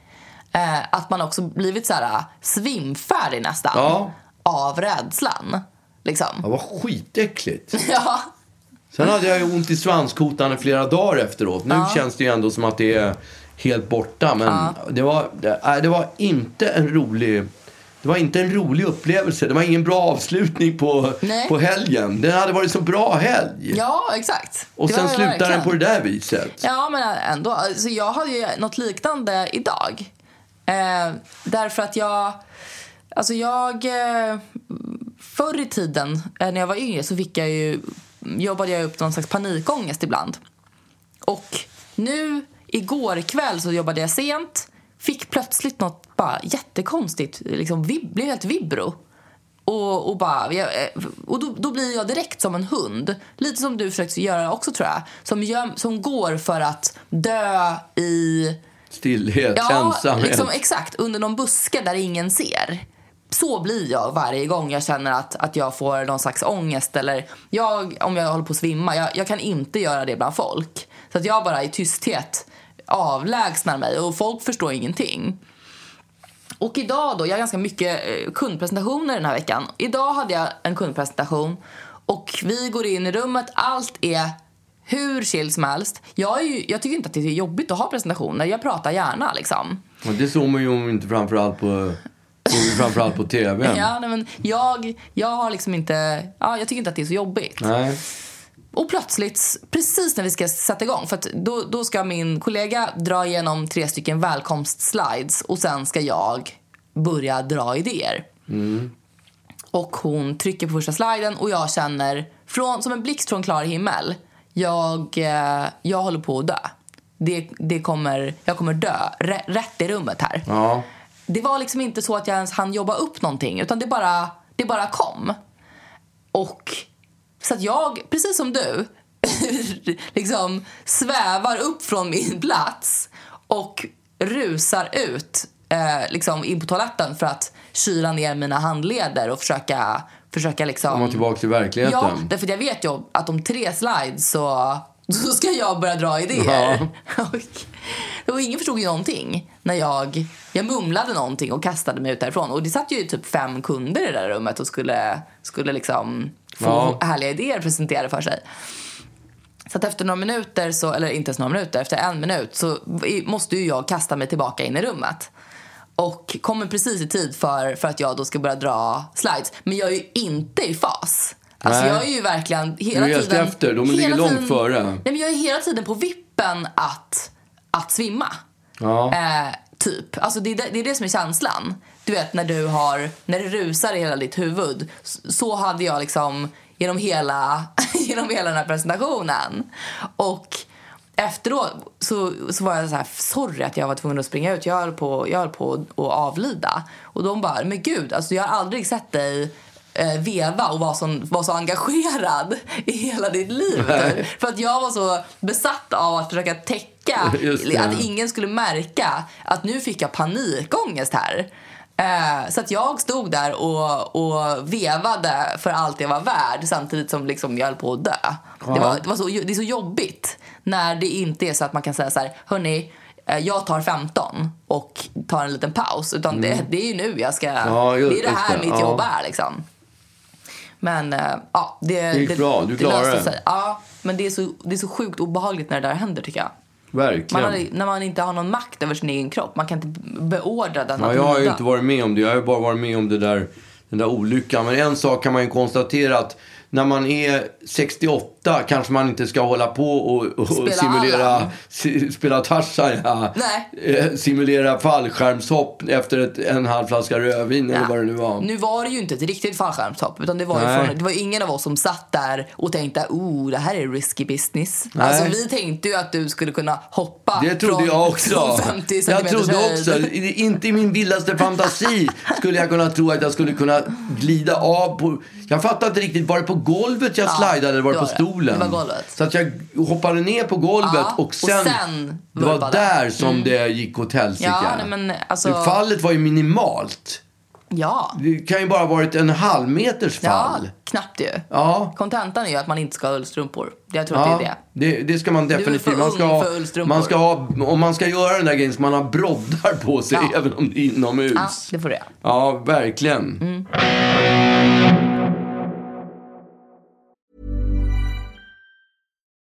S2: Eh, att man också blivit så här ah, svimfärdig nästan.
S1: Ja.
S2: Av rädslan.
S1: Det
S2: Liksom.
S1: var skitäckligt.
S2: Ja.
S1: Sen hade jag ju ont i svanskotan i flera dagar efteråt. Nu känns det ju ändå som att det är helt borta. Men det, var, det, nej, det var inte en rolig... Det var inte en rolig upplevelse. Det var ingen bra avslutning på,
S2: Nej.
S1: på helgen. Det hade varit så bra helg.
S2: ja, exakt.
S1: Och
S2: Det
S1: sen
S2: var det
S1: slutar den
S2: verkligen.
S1: på det där viset.
S2: Ja, men ändå. Alltså, jag hade ju något liknande idag. Eh, därför att jag... Alltså jag... Eh, förr i tiden, eh, när jag var yngre, så fick jag ju, jobbade jag upp någon slags panikångest ibland. Och nu, igår kväll, så jobbade jag sent. Fick plötsligt något bara jättekonstigt. Liksom, vib- blev helt vibro. Och, och, bara, jag, eh, och då, då blir jag direkt som en hund. Lite som du försökte göra också tror jag. Som, göm, som går för att dö i...
S1: Stillhet, ensamhet.
S2: liksom, exakt. Under någon buske där ingen ser. Så blir jag varje gång jag känner att, att jag får någon slags ångest. Eller jag, om jag håller på att svimma. Jag, jag kan inte göra det bland folk. Så att jag bara i tysthet avlägsnar mig och folk förstår ingenting. Och idag då, jag har ganska mycket eh, kundpresentationer den här veckan. Idag hade jag en kundpresentation och vi går in i rummet, allt är hur chill som helst. Jag, är ju, jag tycker inte att det är jobbigt att ha presentationer, jag pratar gärna liksom.
S1: Och Det såg man ju om inte framförallt på, såg vi framförallt på tv.
S2: Ja, nej, men jag, jag har liksom inte, ja, jag tycker inte att det är så jobbigt.
S1: Nej.
S2: Och plötsligt, precis när vi ska sätta igång, för att då, då ska min kollega dra igenom tre stycken välkomstslides och sen ska jag börja dra idéer. Och hon trycker på första sliden och jag känner, från, som en blixt från klar himmel, jag, eh, jag håller på att dö. Det, det kommer, jag kommer dö, rä- rätt i rummet här.
S1: Ja.
S2: Det var liksom inte så att jag ens hann jobba upp någonting utan det bara, det bara kom. Och så att jag, precis som du, liksom svävar upp från min plats och rusar ut eh, liksom in på toaletten för att kyla ner mina handleder och försöka, försöka liksom...
S1: Komma tillbaka till verkligheten.
S2: Ja, därför att jag vet ju att om tre slides så, så ska jag börja dra idéer. Och, och ingen förstod ju någonting när jag, jag mumlade någonting och kastade mig ut därifrån. Och det satt ju typ fem kunder i det där rummet och skulle, skulle liksom få
S1: Ja.
S2: härliga idéer presenterade för sig. Så att efter några minuter, så, eller inte ens några minuter, efter en minut så i- måste ju jag kasta mig tillbaka in i rummet. Och kommer precis i tid för, för att jag då ska börja dra slides. Men jag är ju inte i fas. Alltså
S1: Nej.
S2: jag är ju verkligen hela
S1: Du är helt
S2: tiden...
S1: efter. De ligger
S2: hela
S1: långt före.
S2: Nej men jag är hela tiden på vippen att, att svimma.
S1: Ja.
S2: Eh, typ. Alltså det, är det, det är det som är känslan. Du vet när du har, när det rusar i hela ditt huvud. S- Så hade jag liksom genom hela, genom hela den här presentationen. Och efteråt så, så var jag så här, sorry att jag var tvungen att springa ut. Jag höll på, jag höll på att avlida. Och de bara, men gud, alltså jag har aldrig sett dig eh, veva och vara så, var så engagerad i hela ditt liv. För att jag var så besatt av att försöka täcka
S1: Just det.
S2: att ingen skulle märka att nu fick jag panikångest här. Eh, så att jag stod där och, och vevade för allt jag var värd samtidigt som liksom jag höll på att dö. Det, var, det, var så, det är så jobbigt när det inte är så att man kan säga så här, hörni, eh, jag tar 15 och tar en liten paus. Utan det, det är ju nu jag ska...
S1: Mm. Ja, ju-
S2: det är det
S1: just
S2: här
S1: det.
S2: mitt
S1: Ja.
S2: jobb är liksom. Men eh, ja, det,
S1: gick bra. Du klarade
S2: löste
S1: det.
S2: sig. Ja, men det är, så, det är så sjukt obehagligt när det där händer tycker jag. Man
S1: Verkligen.
S2: har, när man inte har någon makt över sin egen kropp. Man kan inte beordra den
S1: Ja,
S2: att
S1: jag har ju
S2: lyda.
S1: inte varit med om det. Jag har ju bara varit med om det där, den där olyckan. Men en sak kan man ju konstatera att när man är 68 kanske man inte ska hålla på och, och
S2: Spela Allan.
S1: simulera si, spela Tarzan, ja.
S2: Nej.
S1: Eh, simulera fallskärmshopp efter ett, en halv flaska rödvin eller
S2: Ja.
S1: vad det nu var.
S2: Nu var det ju inte ett riktigt fallskärmshopp. Utan det var, ju
S1: Nej.
S2: från, det var ju ingen av oss som satt där och tänkte oh, det här är risky business.
S1: Nej.
S2: Alltså, vi tänkte ju att du skulle kunna hoppa
S1: Det trodde
S2: från,
S1: jag också.
S2: från 50
S1: Jag
S2: centimeters
S1: trodde
S2: höjd.
S1: också, i- inte i min vildaste fantasi skulle jag kunna tro att jag skulle kunna glida av. På, jag fattade inte riktigt, var det på golvet jag
S2: Ja,
S1: slidade eller var
S2: det
S1: det på
S2: var det.
S1: stolen?
S2: Det var golvet.
S1: Så att jag hoppade ner på golvet
S2: Ja, och
S1: och sen,
S2: sen Mm.
S1: det var
S2: vurpade.
S1: där som det gick åt helsike.
S2: Ja, nej, men alltså-
S1: Fallet var ju minimalt.
S2: Ja.
S1: Det kan ju bara ha varit en halvmeters
S2: Ja,
S1: fall.
S2: knappt ju.
S1: Ja.
S2: Kontentan är ju att man inte ska ha ullstrumpor. Jag tror
S1: Ja,
S2: att det är det.
S1: det, det ska man
S2: är
S1: definitivt.
S2: för
S1: Man ska,
S2: ung
S1: ha,
S2: för ullstrumpor.
S1: man ska ha, om man ska göra den där grejen ska man ha broddar på sig
S2: Ja.
S1: även om det är inomhus.
S2: Ja, det Mm. får det.
S1: Ja, verkligen.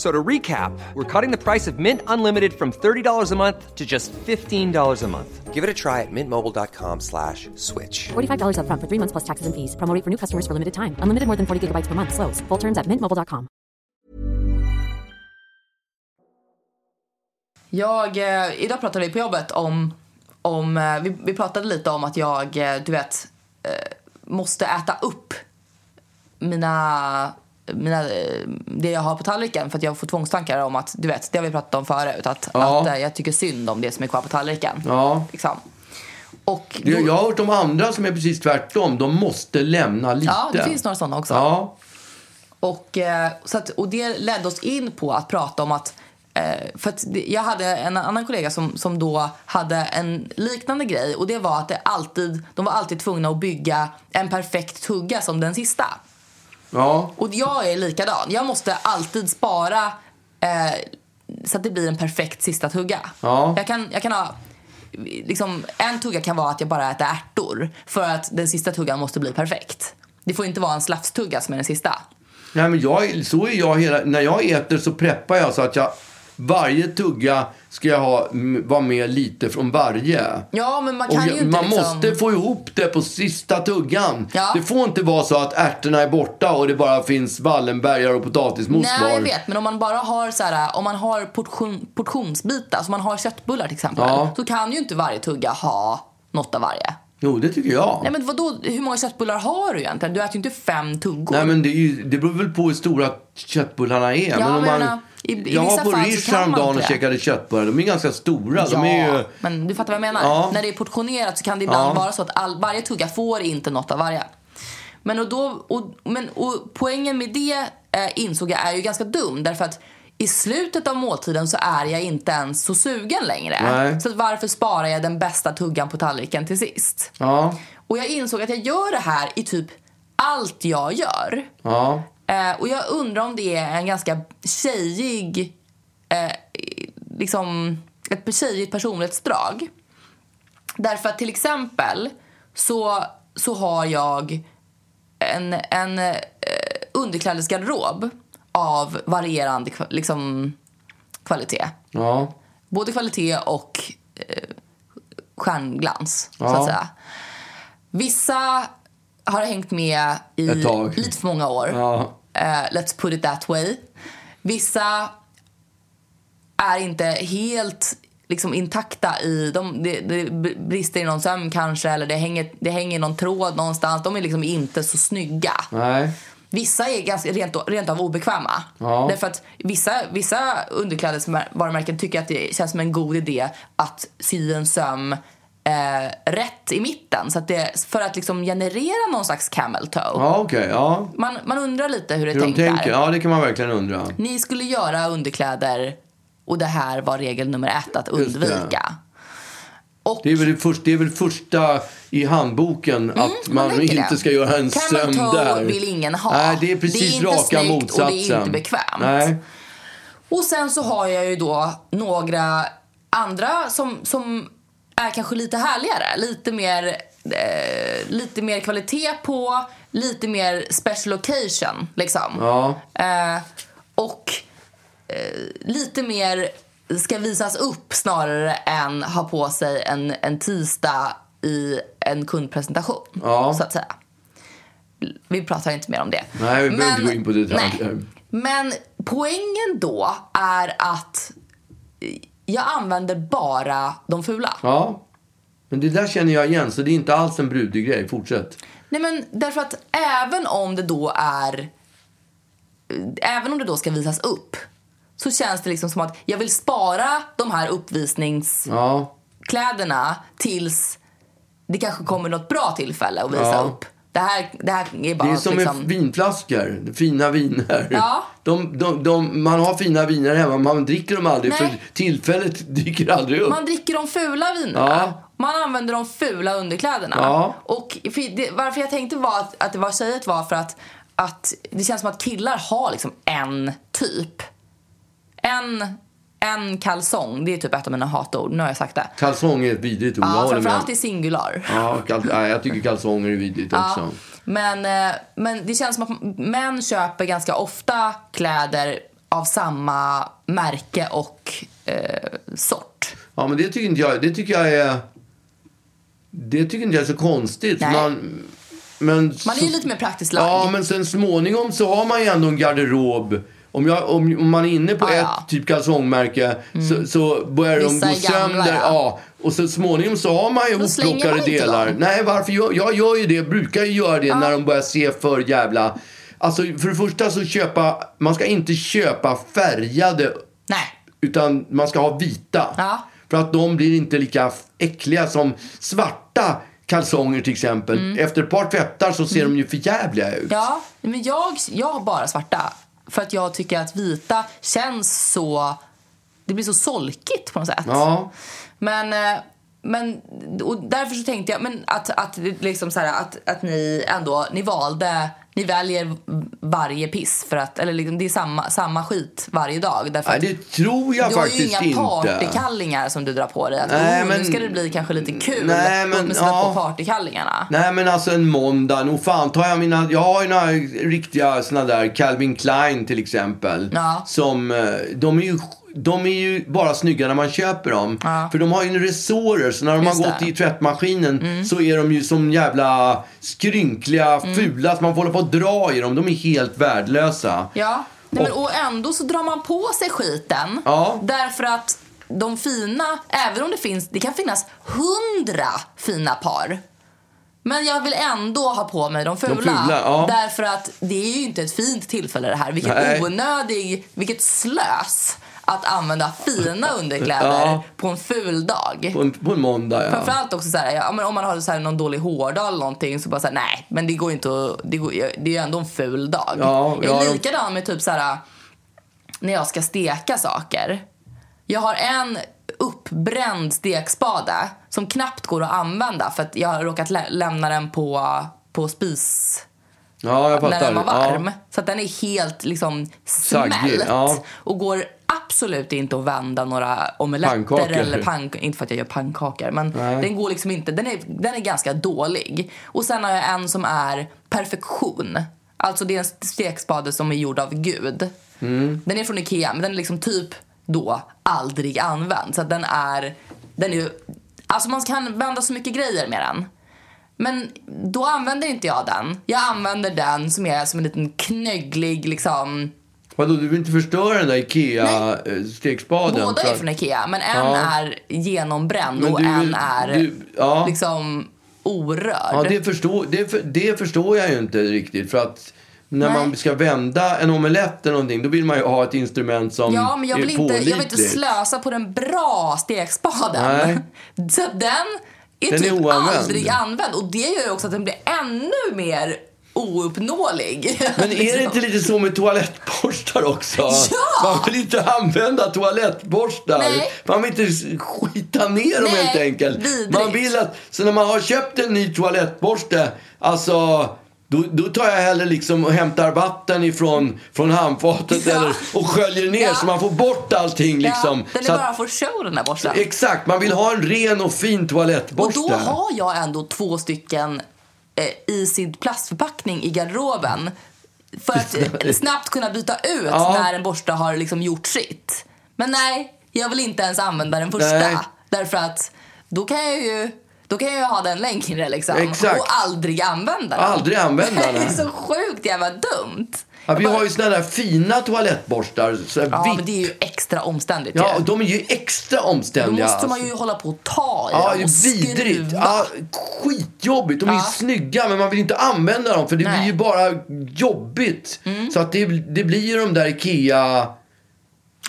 S5: So to recap, we're cutting the price of Mint Unlimited from $30 a month to just $15 a month. Give it a try at mintmobile.com slash switch.
S6: $45 upfront for three months plus taxes and fees. Promoting for new customers for limited time. Unlimited more than 40 gigabytes per month. Slows. Full terms at mintmobile.com.
S2: Jag, eh, idag pratade vi på jobbet om, om eh, vi, vi pratade lite om att jag, eh, du vet, eh, måste äta upp mina, mina, eh, det jag har på tallriken för att jag får tvångstankar om att, du vet, det har vi pratat om förut, att,
S1: Ja.
S2: att eh, jag tycker synd om det som är kvar på tallriken.
S1: Ja.
S2: Liksom. Och
S1: Det,
S2: då-
S1: jag har hört om andra som är precis tvärtom. De måste lämna lite.
S2: ja, det finns några sådana också.
S1: Ja,
S2: Och, eh, så att, och det ledde oss in på att prata om att eh, för att det- jag hade en annan kollega som, som då hade en liknande grej och det var att det alltid, de var alltid tvungna att bygga en perfekt tugga som den sista.
S1: ja,
S2: Och jag är likadan. Jag måste alltid spara eh, så att det blir en perfekt sista tugga.
S1: Ja.
S2: Jag, kan, jag kan ha... Liksom, en tugga kan vara att jag bara äter ärtor för att den sista tuggan måste bli perfekt. Det får inte vara en slafstugga som är den sista.
S1: Nej, men jag, så är jag hela... När jag äter så preppar jag så att jag... Varje tugga ska jag ha, m- vara med lite från varje.
S2: Ja, men man kan
S1: Och
S2: ju inte
S1: man
S2: liksom...
S1: måste få ihop det på sista tuggan.
S2: Ja.
S1: Det får inte vara så att ärtorna är borta och det bara finns Wallenbergare och potatismos kvar.
S2: Nej, jag vet. Men om man bara har så här, om man har portion, portionsbitar, alltså om man har köttbullar till exempel,
S1: Ja.
S2: så kan ju inte varje tugga ha något av varje.
S1: Jo, det tycker jag.
S2: Nej men vadå, hur många köttbullar har du egentligen? Du äter ju inte fem tuggor.
S1: Nej, men det, är ju- det beror väl på hur stora köttbullarna är.
S2: men
S1: om
S2: jag
S1: man,
S2: menar, i- i
S1: jag var
S2: vissa
S1: på
S2: fall så
S1: Rish
S2: kan man
S1: häromdagen
S2: inte
S1: och
S2: det.
S1: käkade köttbullar. De är ganska stora. De är ju...
S2: men du fattar vad jag menar.
S1: Ja.
S2: När det är portionerat så kan det ibland
S1: Ja.
S2: vara så att all, varje tugga får inte något av varje. Men, och då, och, men och poängen med det eh, insåg jag är ju ganska dum. Därför att i slutet av måltiden så är jag inte ens så sugen längre.
S1: Nej.
S2: Så att varför sparar jag den bästa tuggan på tallriken till sist?
S1: Ja,
S2: Och jag insåg att jag gör det här i typ allt jag gör.
S1: ja.
S2: Eh, och jag undrar om det är en ganska tjejig, eh, liksom ett tjejigt personlighetsdrag. Därför att till exempel så, så har jag en, en eh, underklädesgarderob av varierande kva- liksom, kvalitet.
S1: ja.
S2: Både kvalitet och eh, stjärnglans, så
S1: Ja.
S2: att säga. Vissa har hängt med i
S1: Ett tag.
S2: lite för många år.
S1: Ja.
S2: Eh, let's put it that way. Vissa är inte helt liksom, intakta i... De, det, det brister i någon söm kanske eller det hänger, det hänger någon tråd någonstans. De är liksom inte så snygga.
S1: Nej.
S2: Vissa är ganska rent, rent av obekväma.
S1: Ja.
S2: Därför att vissa, vissa underklädesvarumärken tycker att det känns som en god idé att sy en söm eh, rätt i mitten. Så att det, för att liksom generera någon slags camel toe.
S1: Ja, okej. Ja.
S2: Man, man undrar lite hur det
S1: Hur de
S2: tänker.
S1: tänker? Ja, det kan man verkligen undra.
S2: Ni skulle göra underkläder och det här var regel nummer ett, att
S1: Just det.
S2: undvika. Och
S1: Det är, väl det, först, det är väl första i handboken att man,
S2: Mm, tänker det.
S1: inte ska göra en
S2: Kan man
S1: sömn
S2: ta
S1: där.
S2: vill ingen ha.
S1: Nej, det är
S2: Det är
S1: precis
S2: inte
S1: raka
S2: snyggt och det är
S1: motsatsen.
S2: inte bekvämt.
S1: Nej.
S2: Och sen så har jag ju då några andra som, som är kanske lite härligare. Lite mer, eh, lite mer kvalitet på, lite mer special occasion liksom.
S1: Ja.
S2: Eh, och eh, lite mer ska visas upp snarare än ha på sig en, en tisdag i en kundpresentation.
S1: Ja.
S2: Så att säga. Vi pratar inte mer om det.
S1: Nej, vi behöver inte gå in på detaljer.
S2: nej. Men poängen då är att jag använder bara de fula.
S1: ja. Men det där känner jag igen, så det är inte alls en brudig grej. Fortsätt.
S2: Nej men därför att även om det då är Även om det då ska visas upp Så känns det liksom som att jag vill spara de här uppvisningskläderna
S1: Ja.
S2: Tills det kanske kommer något bra tillfälle att visa
S1: Ja.
S2: upp det här, det här är bara
S1: Det är som med
S2: liksom...
S1: vinflaskor, fina viner.
S2: Ja.
S1: De, de, de, man har fina viner hemma, men man dricker dem aldrig
S2: Nej.
S1: för tillfället dyker aldrig upp.
S2: Man dricker de fula vinerna.
S1: Ja.
S2: Man använder de fula underkläderna.
S1: Ja.
S2: Och för det, varför jag tänkte var att, att det var tjejet var för att, att det känns som att killar har liksom en typ. En, en kalsong, det är typ ett av mina hatord. Nu har jag sagt det.
S1: Kalsong är ett vidrigt ord, jag
S2: Ja,
S1: håller med.
S2: framförallt i singular.
S1: Ja, kal- nej, jag tycker kalsonger är vidrigt också.
S2: Men, eh, men det känns som att män köper ganska ofta kläder av samma märke och eh, sort.
S1: Ja, men det tycker inte jag, det tycker jag är... Det tycker inte jag är så konstigt.
S2: Nej.
S1: Man, men
S2: Man är
S1: så-
S2: ju lite mer praktiskt lagd.
S1: Ja, men sen småningom så har man ju ändå en garderob. Om, jag, om, om man är inne på
S2: Ah,
S1: ett
S2: ja. Mm.
S1: typ kalsongmärke så, så börjar de
S2: Vissa
S1: gå
S2: är gamla,
S1: sönder.
S2: ja.
S1: Ja. Och så småningom så har man ju
S2: Då slänger
S1: hopplockade
S2: man inte
S1: delar.
S2: dem.
S1: Nej, varför? Jag, jag gör ju det, brukar ju göra det när de börjar se för jävla... Alltså för det första så köpa, man ska inte köpa färgade
S2: Nej.
S1: utan man ska ha vita.
S2: Ja.
S1: För att de blir inte lika äckliga som svarta kalsonger till exempel. Efter ett par tvättar så ser de ju för jävliga ut.
S2: Mm. Ja, men jag, jag har bara svarta. För att jag tycker att vita känns så... Det blir så solkigt på något sätt.
S1: Ja.
S2: Men, eh, men och därför så tänkte jag men att, att, det liksom så här, att, att ni ändå ni valde... Ni väljer varje piss. För att, eller liksom, det är samma, samma skit varje dag. Därför
S1: Nej,
S2: att
S1: det tror jag
S2: du har ju
S1: faktiskt
S2: inga
S1: inte.
S2: partykallingar som du drar på dig. Att,
S1: Nej,
S2: oh,
S1: men-
S2: nu ska det bli kanske lite kul.
S1: Nej, men,
S2: Låt mig sätta
S1: ja.
S2: på partykallingarna.
S1: Nej men alltså en måndag, nog fan tar jag mina, jag har ju några riktiga såna där Calvin Klein till exempel.
S2: Ja.
S1: Som, eh, de är ju de är ju bara snygga när man köper dem. För de har ju resårer, så när de
S2: Just
S1: har gått
S2: det. Mm.
S1: i tvättmaskinen så är de ju som jävla skrynkliga, fula, så man får hålla på att dra i dem. De är helt värdelösa.
S2: Ja, Nej, men, och ändå så drar man på sig skiten.
S1: Ja.
S2: Därför att de fina, även om det finns, det kan finnas hundra fina par. Men jag vill ändå ha på mig de fula.
S1: fula, ja.
S2: Därför att det är ju inte ett fint tillfälle det här. Vilket
S1: Nej.
S2: onödig, vilket slös att använda fina underkläder
S1: Ja.
S2: på en ful dag.
S1: På en, på en måndag ja.
S2: Framförallt också så här, ja, men om man har så här någon dålig hårdag eller någonting så bara så här, nej, men det går inte att, det, går, det är ju ändå en ful dag.
S1: Ja,
S2: jag
S1: ja,
S2: är
S1: de-
S2: likadan med typ så här när jag ska steka saker. Jag har en uppbränd stekspade som knappt går att använda för att jag har råkat lä- lämna den på, på spis
S1: ja, jag fattar.
S2: när den var varm.
S1: Ja.
S2: Så att den är helt liksom
S1: Saggig,
S2: smält.
S1: ja.
S2: Och går absolut inte att vända några omeletter
S1: Pannkakor.
S2: eller pank Inte för att jag gör pannkakor men
S1: Nej.
S2: den går liksom inte. Den är, den är ganska dålig. Och sen har jag en som är perfektion. Alltså det är en stekspade som är gjord av Gud. Den är från Ikea men den är liksom typ då aldrig använd. Så att den är, den är ju, alltså man kan vända så mycket grejer med den. Men då använder inte jag den. Jag använder den som är som en liten knögglig liksom.
S1: Vadå, du vill inte förstöra den där eh, IKEA-stekspaden?
S2: Båda är från Ikea men en
S1: Ja.
S2: är genombränd
S1: Men
S2: och
S1: du
S2: en
S1: vill-
S2: är
S1: du- ja.
S2: liksom orörd.
S1: Ja, det förstår, det, för- det förstår jag ju inte riktigt. För att när
S2: Nej.
S1: man ska vända en omelett eller någonting, då vill man ju ha ett instrument som
S2: Ja, men jag vill,
S1: är
S2: inte, jag vill inte
S1: pålitligt.
S2: slösa på den bra stekspaden. Så att den är
S1: Den är
S2: typ
S1: oanvänd.
S2: aldrig använd. Och det gör ju också att den blir ännu mer ouppnåelig.
S1: Men är det inte lite så med toalettborstar också?
S2: Liksom. Ja!
S1: Man vill inte använda toalettborstar.
S2: Nej.
S1: Man vill inte skita ner dem
S2: Nej,
S1: helt enkelt.
S2: vidrigt.
S1: Man vill att, så när man har köpt en ny toalettborste, alltså då, då tar jag hellre liksom och hämtar vatten ifrån från handfatet
S2: Ja.
S1: eller, och sköljer ner
S2: Ja.
S1: så man får bort allting. Liksom.
S2: ja, den är
S1: så
S2: bara
S1: att,
S2: för show den där borsten.
S1: exakt, man vill ha en ren och fin
S2: Och
S1: toalettborste.
S2: då har jag ändå två stycken eh, i sin plastförpackning i garderoben för att eh, snabbt kunna byta ut
S1: Ja.
S2: när en borste har liksom gjort sitt. Men nej, jag vill inte ens använda den första.
S1: Nej.
S2: Därför att då kan jag ju då kan jag ju ha den längre liksom,
S1: Exakt.
S2: och aldrig använda den.
S1: Aldrig använda
S2: Det är
S1: den.
S2: så sjukt jävla dumt.
S1: Ja, vi
S2: Jag bara-
S1: har ju såna där fina toalettborstar, så här
S2: ja,
S1: vitt.
S2: men det är ju extra omständigt
S1: Ja,
S2: ju.
S1: och de är ju extra
S2: Då
S1: omständiga.
S2: måste man ju hålla på och ta i
S1: Ja,
S2: dem
S1: det
S2: och
S1: är vidrigt.
S2: skruva.
S1: Ja, skitjobbigt. De är ju
S2: Ja.
S1: snygga, men man vill inte använda dem för det
S2: Nej. Mm.
S1: blir ju bara jobbigt. Så att det, det blir ju de där Ikea...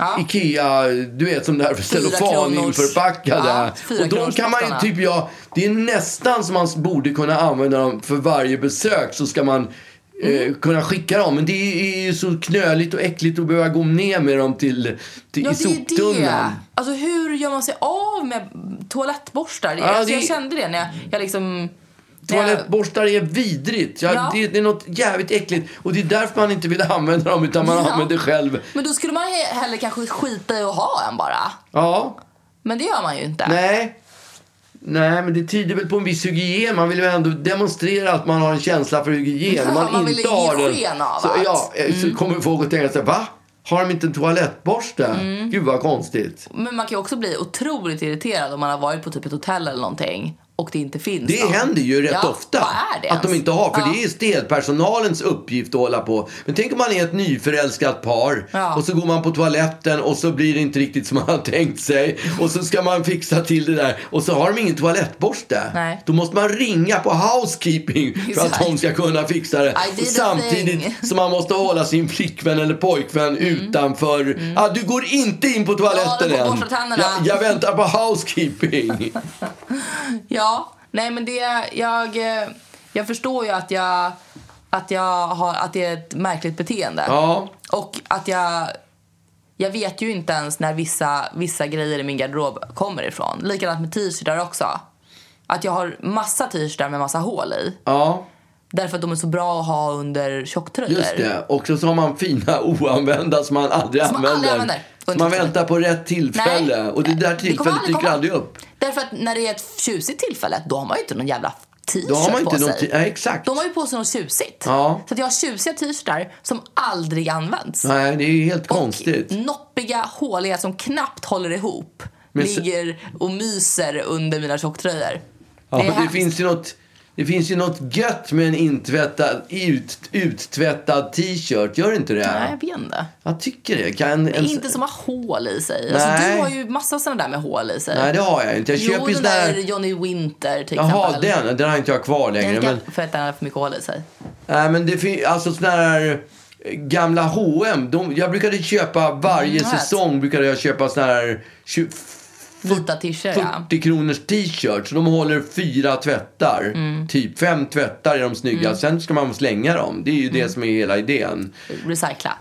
S2: Ja.
S1: Ikea, du vet som där cellofan
S2: kronors-
S1: införpackade.
S2: Ja, fyra
S1: och de kan man
S2: kronorsboxarna.
S1: ju typ, ja, det är nästan som man borde kunna använda dem för varje besök så ska man
S2: Mm.
S1: eh, kunna skicka dem. Men det är ju så knöligt och äckligt att behöva gå ner med dem till, till i
S2: det är ju
S1: soptunnan.
S2: Alltså hur gör man sig av med toalettborstar?
S1: Ja,
S2: alltså, Jag
S1: det-
S2: kände det när jag, jag liksom... när jag-
S1: Toalettborstar är vidrigt. Ja,
S2: Ja.
S1: Det, det är något jävligt äckligt. Och det är därför man inte vill använda dem, utan man
S2: Ja.
S1: använder själv.
S2: Men då skulle man he- hellre kanske skita i att ha en bara.
S1: Ja,
S2: Men det gör man ju inte.
S1: nej. Nej, men det tyder väl på en viss hygien. Man vill ju ändå demonstrera att man har en känsla för hygien.
S2: Ja,
S1: Om man
S2: man vill
S1: inte
S2: ge
S1: har den.
S2: sken av
S1: så,
S2: att- Mm.
S1: ja, eh, så kommer folk att tänka sig, va? Har de inte en toalettborste?
S2: Mm.
S1: Gud vad konstigt.
S2: Men man kan ju också bli otroligt irriterad om man har varit på typ ett hotell eller någonting och det inte finns
S1: Det
S2: någon.
S1: händer ju rätt
S2: ja,
S1: ofta
S2: Vad är det alltså.
S1: att de
S2: ens?
S1: inte har. För
S2: ja.
S1: det är städpersonalens uppgift att hålla på. Men tänk om man är ett nyförälskat par
S2: Ja.
S1: och så går man på toaletten och så blir det inte riktigt som man har tänkt sig. Och så ska man fixa till det där och så har de ingen toalettborste.
S2: Nej.
S1: Då måste man ringa på housekeeping för att
S2: Exakt.
S1: de ska kunna fixa det.
S2: I did a thing. Mm.
S1: Samtidigt som man måste hålla sin flickvän eller pojkvän utanför. Ah, du går inte in på toaletten
S2: du får
S1: än.
S2: borsta tänderna.
S1: Jag, jag väntar på housekeeping.
S2: Ja, nej men det, jag, eh, jag förstår ju att jag, att jag har, att det är ett märkligt beteende.
S1: ja.
S2: Och att jag, jag vet ju inte ens när vissa, vissa grejer i min garderob kommer ifrån. Likadant med t-shirtar också. Att jag har massa t-shirtar med massa hål i.
S1: Ja.
S2: Därför att de är så bra att ha under tjocktröjor.
S1: Just det. Och så har man fina oanvända som man aldrig
S2: Som man
S1: använder.
S2: aldrig använder.
S1: Som man väntar på rätt tillfälle.
S2: Nej.
S1: Och det där
S2: Det
S1: tillfället
S2: kommer aldrig
S1: dyker
S2: komma.
S1: aldrig upp.
S2: Därför att när det är ett tjusigt tillfälle, då har man ju inte någon jävla t-shirt
S1: Då har man
S2: på
S1: inte någon
S2: sig.
S1: tid. Nej, exakt.
S2: De har ju på sig något tjusigt.
S1: Ja.
S2: Så att jag har tjusiga t-shirtar som aldrig används.
S1: Nej, det är ju helt konstigt.
S2: Noppiga, håliga som knappt håller ihop.
S1: Men så-
S2: Ligger och myser under mina tjocktröjor.
S1: Ja,
S2: det är
S1: det,
S2: hemskt.
S1: finns ju något, det finns ju något gött med en intvättad, ut, uttvättad t-shirt. Gör inte det?
S2: Nej, jag vet inte.
S1: Jag tycker det. Kan en,
S2: Inte som har hål i sig. Alltså,
S1: Nej.
S2: du har ju massa sådana där med hål i sig.
S1: Nej, det har jag inte. Jag
S2: jo,
S1: köper ju sån
S2: den
S1: där...
S2: där Johnny Winter till
S1: Jaha,
S2: exempel.
S1: den. Den har inte jag kvar längre.
S2: Den
S1: men...
S2: kan, för att den har för mycket hål i sig.
S1: Nej, men det finns alltså såna här eh, gamla H&M. De, jag brukade köpa varje
S2: Mm, jag vet.
S1: säsong brukade jag köpa såna här 20,
S2: Vita t-shirts, ja.
S1: 40 kronors t-shirts. De håller fyra tvättar.
S2: Mm.
S1: Typ fem tvättar är de snygga. Sen ska man slänga dem. Det är ju
S2: Mm.
S1: det som är hela idén.
S2: Recycla.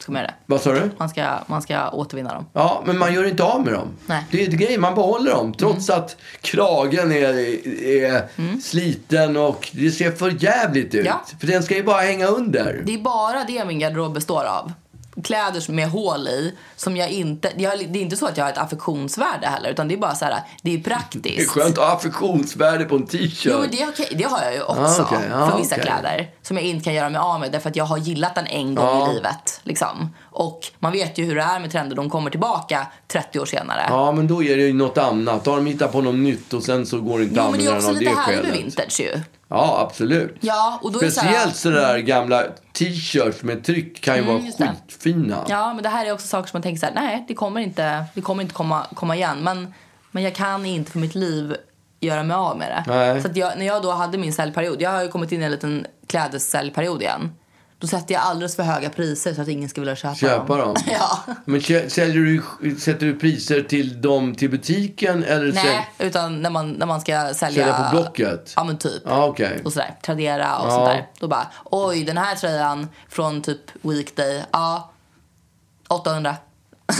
S2: Ska man göra det.
S1: Vad sa du?
S2: Man ska, man ska återvinna dem.
S1: Ja, men man gör inte av med dem.
S2: Nej. Mm.
S1: Det är grejen, man behåller dem. Trots att kragen är, är sliten och det ser för jävligt ut.
S2: Ja.
S1: För den ska ju bara hänga under.
S2: Det är bara det min garderob består av. Kläder som- med hål i. Som jag inte, jag, det är inte så att jag har ett affektionsvärde heller. Utan det är bara så här, det är praktiskt.
S1: Det är skönt att ha affektionsvärde på en t-shirt.
S2: Jo, men det, är okej. det har jag ju också
S1: Ah, okej. Ah,
S2: för vissa
S1: okej.
S2: kläder som jag inte kan göra mig av med därför att jag har gillat den en gång
S1: Ja.
S2: i livet. Liksom. Och man vet ju hur det är med trender, de kommer tillbaka 30 år senare.
S1: Ja, men då är det ju något annat. Då har de hittat på något nytt och sen så går det inte
S2: Jo,
S1: att
S2: men det är
S1: använda
S2: också
S1: den av det
S2: lite härligt med
S1: skälet.
S2: vintage ju.
S1: Ja, absolut.
S2: Ja, och då är det så här-
S1: Speciellt sådär gamla t-shirts med tryck kan ju vara
S2: Mm, just det.
S1: skitfina.
S2: Ja, men det här är också saker som man tänker så här, nej, det kommer inte, det kommer inte komma, komma igen. Men, men jag kan inte för mitt liv göra mig av med det.
S1: Nej.
S2: Så att jag, när jag då hade min säljperiod, jag har ju kommit in i en liten klädessäljperiod igen. Då sätter jag alldeles för höga priser så att ingen ska vilja köpa,
S1: Köpa dem?
S2: ja.
S1: Men kä- säljer du, sätter du priser till dem till butiken eller säl-
S2: Nej, utan när man, när man ska sälja...
S1: sälja på Blocket?
S2: Ja, men typ.
S1: Ja, okej.
S2: Och sådär, Tradera och
S1: Ja.
S2: sånt där. Då bara, oj, den här tröjan från typ Weekday, ja, 800.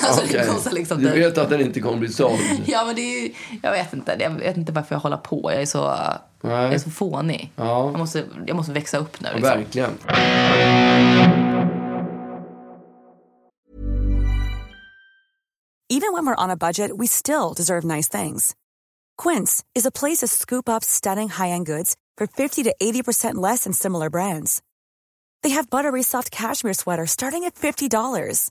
S2: Alltså
S1: Okej.
S2: det kostar liksom
S1: Du
S2: typ...
S1: vet att den inte kommer bli såld?
S2: Ja, men det är ju, jag vet inte. Jag vet inte varför jag håller på. Jag är så, jag är så fånig.
S1: Ja.
S2: Jag, måste, jag måste växa upp nu. Liksom.
S1: Verkligen.
S3: Even when we're on a budget, we still deserve nice things. Quince is a place to scoop up stunning high end goods for 50 to 80% less than similar brands. They have buttery soft cashmere sweaters starting at $50,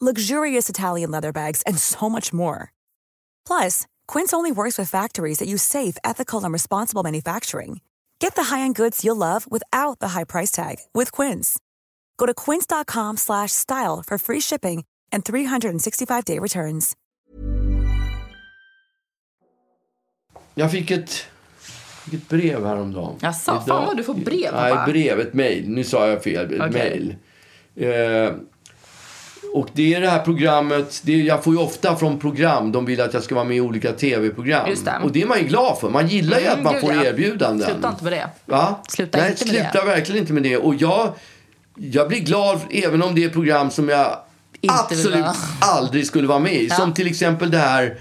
S3: luxurious Italian leather bags, and so much more. Plus, Quince only works with factories that use safe, ethical, and responsible manufacturing. Get the high-end goods you'll love without the high price tag with Quince. Go to quince.com slash style for free shipping and 365-day returns.
S1: Jag fick ett, fick ett brev häromdagen.
S2: Jaså, fan vad du får brev, pappa.
S1: Nej, brev. Ett mejl. Nu sa jag fel. Ett
S2: Okej.
S1: mejl. Eh, och det är det här programmet. Det är, jag får ju ofta från program. De vill att jag ska vara med i olika tv-program.
S2: Just det.
S1: Och det är man ju glad för. Man gillar ju
S2: Mm,
S1: att man
S2: gud,
S1: får
S2: ja.
S1: erbjudanden.
S2: Sluta inte med det.
S1: Va?
S2: Sluta
S1: Nej,
S2: inte med
S1: sluta
S2: det.
S1: verkligen inte med det. Och jag, jag blir glad även om det är program som jag
S2: vill
S1: absolut
S2: vara.
S1: aldrig skulle vara med i. Som till exempel det här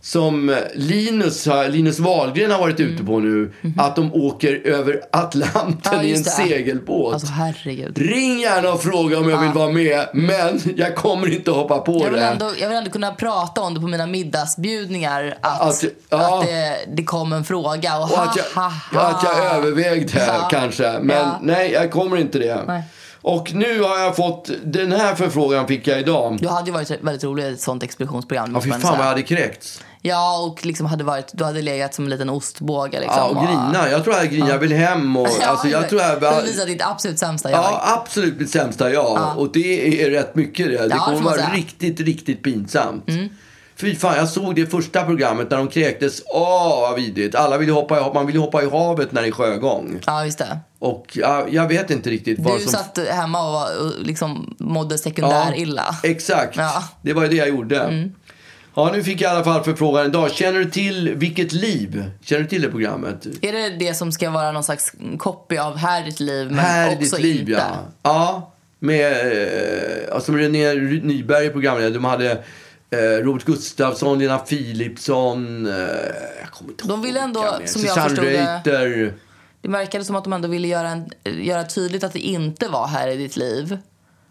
S1: som Linus, har- Linus Wahlgren har
S2: Mm.
S1: varit ute på nu. Att de åker över Atlanten
S2: Mhm. Ja,
S1: i en
S2: just det.
S1: segelbåt.
S2: Alltså herregud.
S1: Ring gärna och fråga om jag vill vara med, men jag kommer inte hoppa på
S2: Jag vill,
S1: det.
S2: ändå, jag vill ändå kunna prata om det på mina middagsbjudningar. Att,
S1: Att- ja.
S2: att det, det kom en fråga och,
S1: Och
S2: ha,
S1: att jag,
S2: ha, ha.
S1: att jag övervägde
S2: Ja.
S1: kanske. Men
S2: Ja.
S1: nej, jag kommer inte det.
S2: Nej.
S1: Och nu har jag fått, den här förfrågan fick jag idag.
S2: Du hade ju varit väldigt rolig i ett sånt expeditionsprogram.
S1: Ja,
S2: måste
S1: fy
S2: man
S1: fan
S2: ändå
S1: vad jag
S2: säga.
S1: hade kräkts.
S2: ja och liksom hade varit, du hade legat som en liten ostbåge. Liksom,
S1: Ja, och grina. Jag tror jag grinade. Jag vill hem och, alltså jag tror jag...
S2: Du visade ditt absolut sämsta jag.
S1: Ja, absolut mitt sämsta jag. Och det är rätt mycket det. Det
S2: det
S1: kommer
S2: får man
S1: vara
S2: säga. Mm.
S1: riktigt, riktigt pinsamt. Fy fan, jag såg det första programmet när de kräktes. Åh, vad vidrigt. Alla vill hoppa i, man vill hoppa i havet när det är sjögång.
S2: ja, just det.
S1: Och jag, jag vet inte riktigt vad
S2: Du
S1: som...
S2: satt hemma och, var, och liksom mådde sekundär illa.
S1: Exakt.
S2: Ja. Mm.
S1: Det var ju det jag gjorde. Ja, nu fick jag i alla fall förfrågan idag. Känner du till Vilket liv? Känner du till det programmet?
S2: Är det det som ska vara någon slags copy av Här är ditt liv men
S1: Här är
S2: också
S1: ditt liv,
S2: inte?
S1: ja. Ja, med, eh, alltså med René Ry- Nyberg i programledare. De hade eh, Robert Gustafsson, Lena Philipsson. Eh, jag kommer inte
S2: De
S1: ihåg
S2: ville ändå,
S1: vilka mer.
S2: som jag
S1: Susanne
S2: förstod det-
S1: Reuter.
S2: Det verkade som att de ändå ville göra, en, göra tydligt att det inte var Här är ditt liv.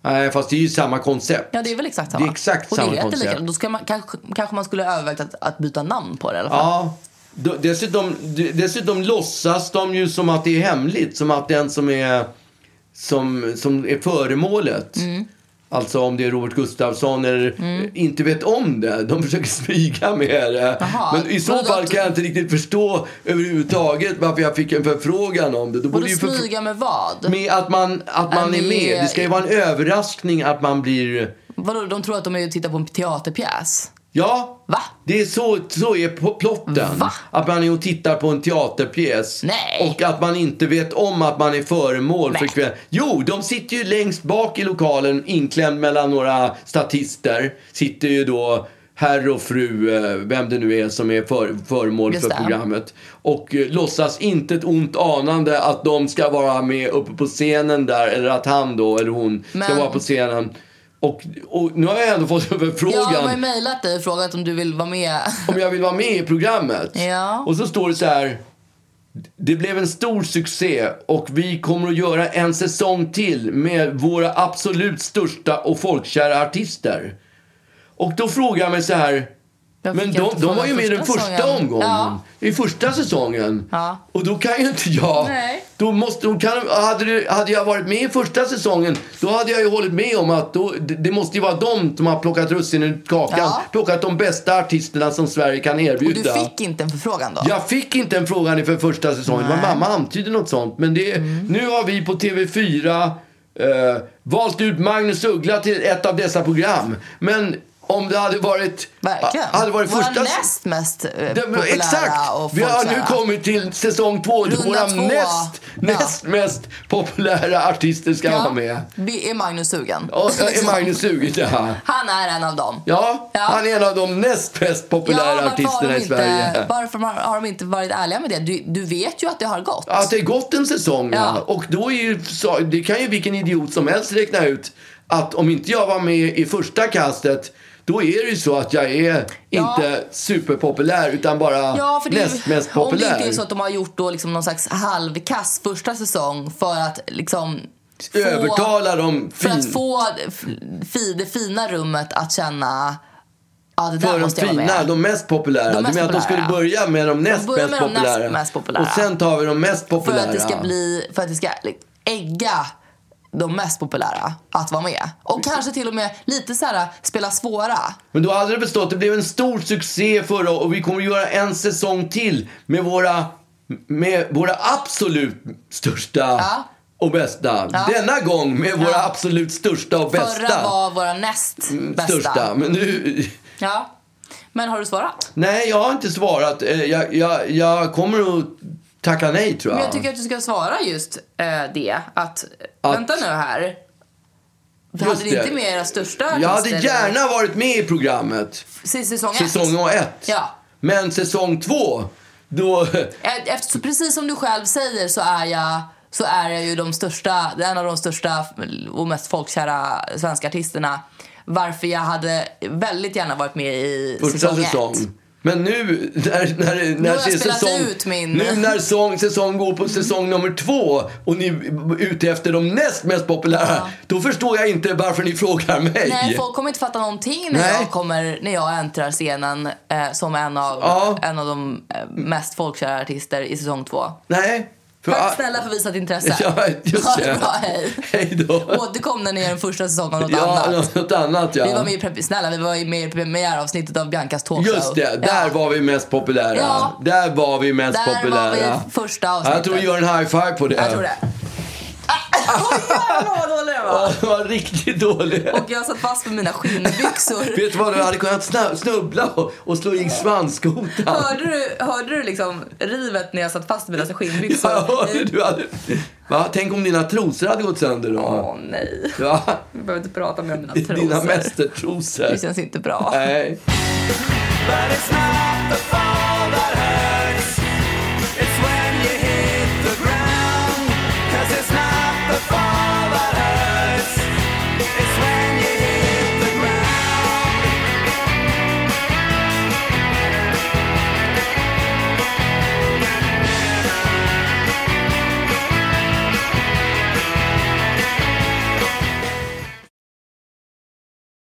S1: Nej, fast det är ju samma koncept.
S2: Ja, det är väl exakt samma.
S1: Det är exakt
S2: och det
S1: samma
S2: heter
S1: koncept.
S2: likadant. Då ska man, kanske, kanske man skulle övervägt att, att byta namn på det i alla fall.
S1: Ja. d- Dessutom, d- dessutom låtsas de ju som att det är hemligt. Som att den som är, som, som är föremålet,
S2: Mm.
S1: alltså om det är Robert Gustafsson eller inte vet om det. De försöker smyga med det.
S2: Jaha,
S1: Men i så
S2: vadå
S1: fall
S2: att-
S1: kan jag inte riktigt förstå överhuvudtaget varför jag fick en förfrågan om det. Då
S2: Borde
S1: borde ju förfr-
S2: smyga med vad?
S1: med att man, att man
S2: Ja,
S1: är med.
S2: med-
S1: Det ska ju vara en överraskning att man blir...
S2: Vadå, de tror att de är och tittar på en teaterpjäs?
S1: Ja,
S2: Va?
S1: det är så, så är po- plotten.
S2: Va?
S1: Att man är och tittar på en teaterpjäs.
S2: Nej.
S1: Och att man inte vet om att man är föremål för
S2: Nej.
S1: kväll. Jo, de sitter ju längst bak i lokalen inklämd mellan några statister. Sitter ju då herr och fru, eh, vem det nu är som är för, föremål
S2: Just
S1: för
S2: det.
S1: programmet. Och eh, låtsas inte ett ont anande att de ska vara med uppe på scenen där. Eller att han då, eller hon, ska
S2: Men-
S1: vara på scenen. Och, och nu har jag ändå fått en förfrågan
S2: Ja, de har ju mejlat dig och frågat om du vill vara med.
S1: om jag vill vara med i programmet.
S2: Ja.
S1: Och så står det så här. Det blev en stor succé och vi kommer att göra en säsong till med våra absolut största och folkkära artister. Och då frågar jag mig så här.
S2: Jag
S1: Men
S2: fick
S1: de,
S2: inte
S1: de
S2: från
S1: var ju med i den första
S2: säsongen.
S1: omgången.
S2: Ja.
S1: I första säsongen.
S2: Ja.
S1: Och då kan ju inte jag...
S2: Nej.
S1: Då måste, då kan, hade, det, hade jag varit med i första säsongen, då hade jag ju hållit med om att då, det, det måste ju vara de som har plockat russinen ur kakan.
S2: Ja.
S1: Plockat de bästa artisterna som Sverige kan
S2: Och
S1: erbjuda.
S2: du fick inte en förfrågan då?
S1: Jag fick inte en fråga inför första säsongen. Men mamma antydde något sånt. Men det,
S2: Mm.
S1: nu har vi på TV4 eh, valt ut Magnus Uggla till ett av dessa program. Men om det hade varit...
S2: Verkligen.
S1: Ah, Hade varit
S2: Vår
S1: första...
S2: näst mest eh,
S1: Det,
S2: populära
S1: exakt!
S2: och
S1: Vi har nu
S2: folkkära.
S1: kommit till säsong två.
S2: Runda
S1: Våra
S2: två.
S1: näst,
S2: Ja.
S1: näst mest populära artister ska
S2: Ja.
S1: vara med.
S2: Det är Magnus sugen?
S1: Och så är Magnus sugen ja.
S2: Han är en av dem.
S1: ja,
S2: Ja.
S1: han är en av de näst mest populära
S2: varför har
S1: artisterna
S2: de
S1: i Sverige.
S2: Inte, varför har- har de inte varit ärliga med det? Du, du vet ju att det har gått.
S1: Att det är gått en säsong, ja.
S2: Ja.
S1: Och då är ju, så- det kan ju vilken idiot som helst räkna ut att om inte jag var med i första kastet då är det ju så att jag är
S2: Ja.
S1: inte superpopulär utan bara
S2: Ja, för det är,
S1: näst mest
S2: om det
S1: populär.
S2: inte är så att de har gjort då liksom någon slags halvkass första säsong för att liksom få,
S1: Övertala dem
S2: för
S1: fin,
S2: att få f- fi, det fina rummet att känna ja, det där
S1: för de
S2: måste jag vara
S1: fina,
S2: med.
S1: de mest populära.
S2: De
S1: du
S2: mest
S1: menar att de skulle
S2: populära.
S1: börja med de näst,
S2: börjar
S1: mest,
S2: med de näst
S1: populära.
S2: mest populära.
S1: Och sen tar vi de mest
S2: för
S1: populära.
S2: att det ska bli, för att det ska like, ägga de mest populära att vara med. Och kanske till och med lite så här spela svåra.
S1: Men då hade det bestått. Det blev en stor succé förra och vi kommer att göra en säsong till med våra, med våra absolut största
S2: Ja.
S1: och bästa. Denna gång med våra absolut största och bästa. Mm,
S2: Förra var våra näst bästa.
S1: Största. Men nu,
S2: Ja. Men har du svarat?
S1: nej, jag har inte svarat. Eh, Jag, jag, jag kommer att tacka nej, tror jag.
S2: Men jag tycker att du ska svara just eh, det. Att, vänta nu här. hade ni
S1: det.
S2: inte med era största
S1: jag hade
S2: artister
S1: gärna varit med i programmet,
S2: i Säsong ett?
S1: säsong och ett.
S2: Ja.
S1: Men säsong två, då...
S2: E- Efter, precis som du själv säger så är jag, så är jag ju de största, en av de största och mest folkkära svenska artisterna. Varför jag hade väldigt gärna varit med i
S1: första
S2: säsong
S1: säsong.
S2: ett.
S1: Men nu när, när,
S2: har
S1: när
S2: jag
S1: ser
S2: spelat
S1: säsong,
S2: ut min-
S1: nu när säsong, säsong går på säsong nummer två och ni är ute efter de näst mest populära, då förstår jag inte varför ni frågar mig.
S2: Nej, folk kommer inte fatta någonting när,
S1: Nej.
S2: jag, kommer, när jag äntrar scenen eh, som en av,
S1: Ja.
S2: en av de eh, mest folkkära artister i säsong två.
S1: Nej. För,
S2: Tack snälla för visat intresse.
S1: Ja, just
S2: ha
S1: det.
S2: det bra, hej.
S1: Hej då.
S2: Återkom när ni gör en första säsong av något
S1: Ja, alltså.
S2: annat.
S1: något annat ja.
S2: Vi var med i pre- snälla, vi var ju med i premiäravsnittet av Biancas talkshow.
S1: Just det, där
S2: Ja.
S1: var vi mest populära.
S2: Ja.
S1: Där var vi mest
S2: Där var
S1: populära.
S2: vi första
S1: Ja, jag
S2: avsnittet.
S1: tror vi gör en high five på det.
S2: Jag tror det. Ah, Åh jävlar vad dålig jag var.
S1: Ja, det var riktigt dåligt.
S2: Och jag satt fast med mina skinnbyxor.
S1: Vet du vad, du hade kunnat sna- snubbla och, och slå i svanskotan.
S2: Hörde du, hörde du liksom rivet när jag satt fast med mina skinnbyxor?
S1: Jag hörde du hade... Va? Tänk om dina trosor hade gått sönder då?
S2: Åh nej.
S1: Ja.
S2: Vi behöver inte prata mer om mina trosor.
S1: Dina
S2: Det
S1: mästertrosor.
S2: känns inte bra.
S1: Nej.
S7: But it's not the fall that hurts.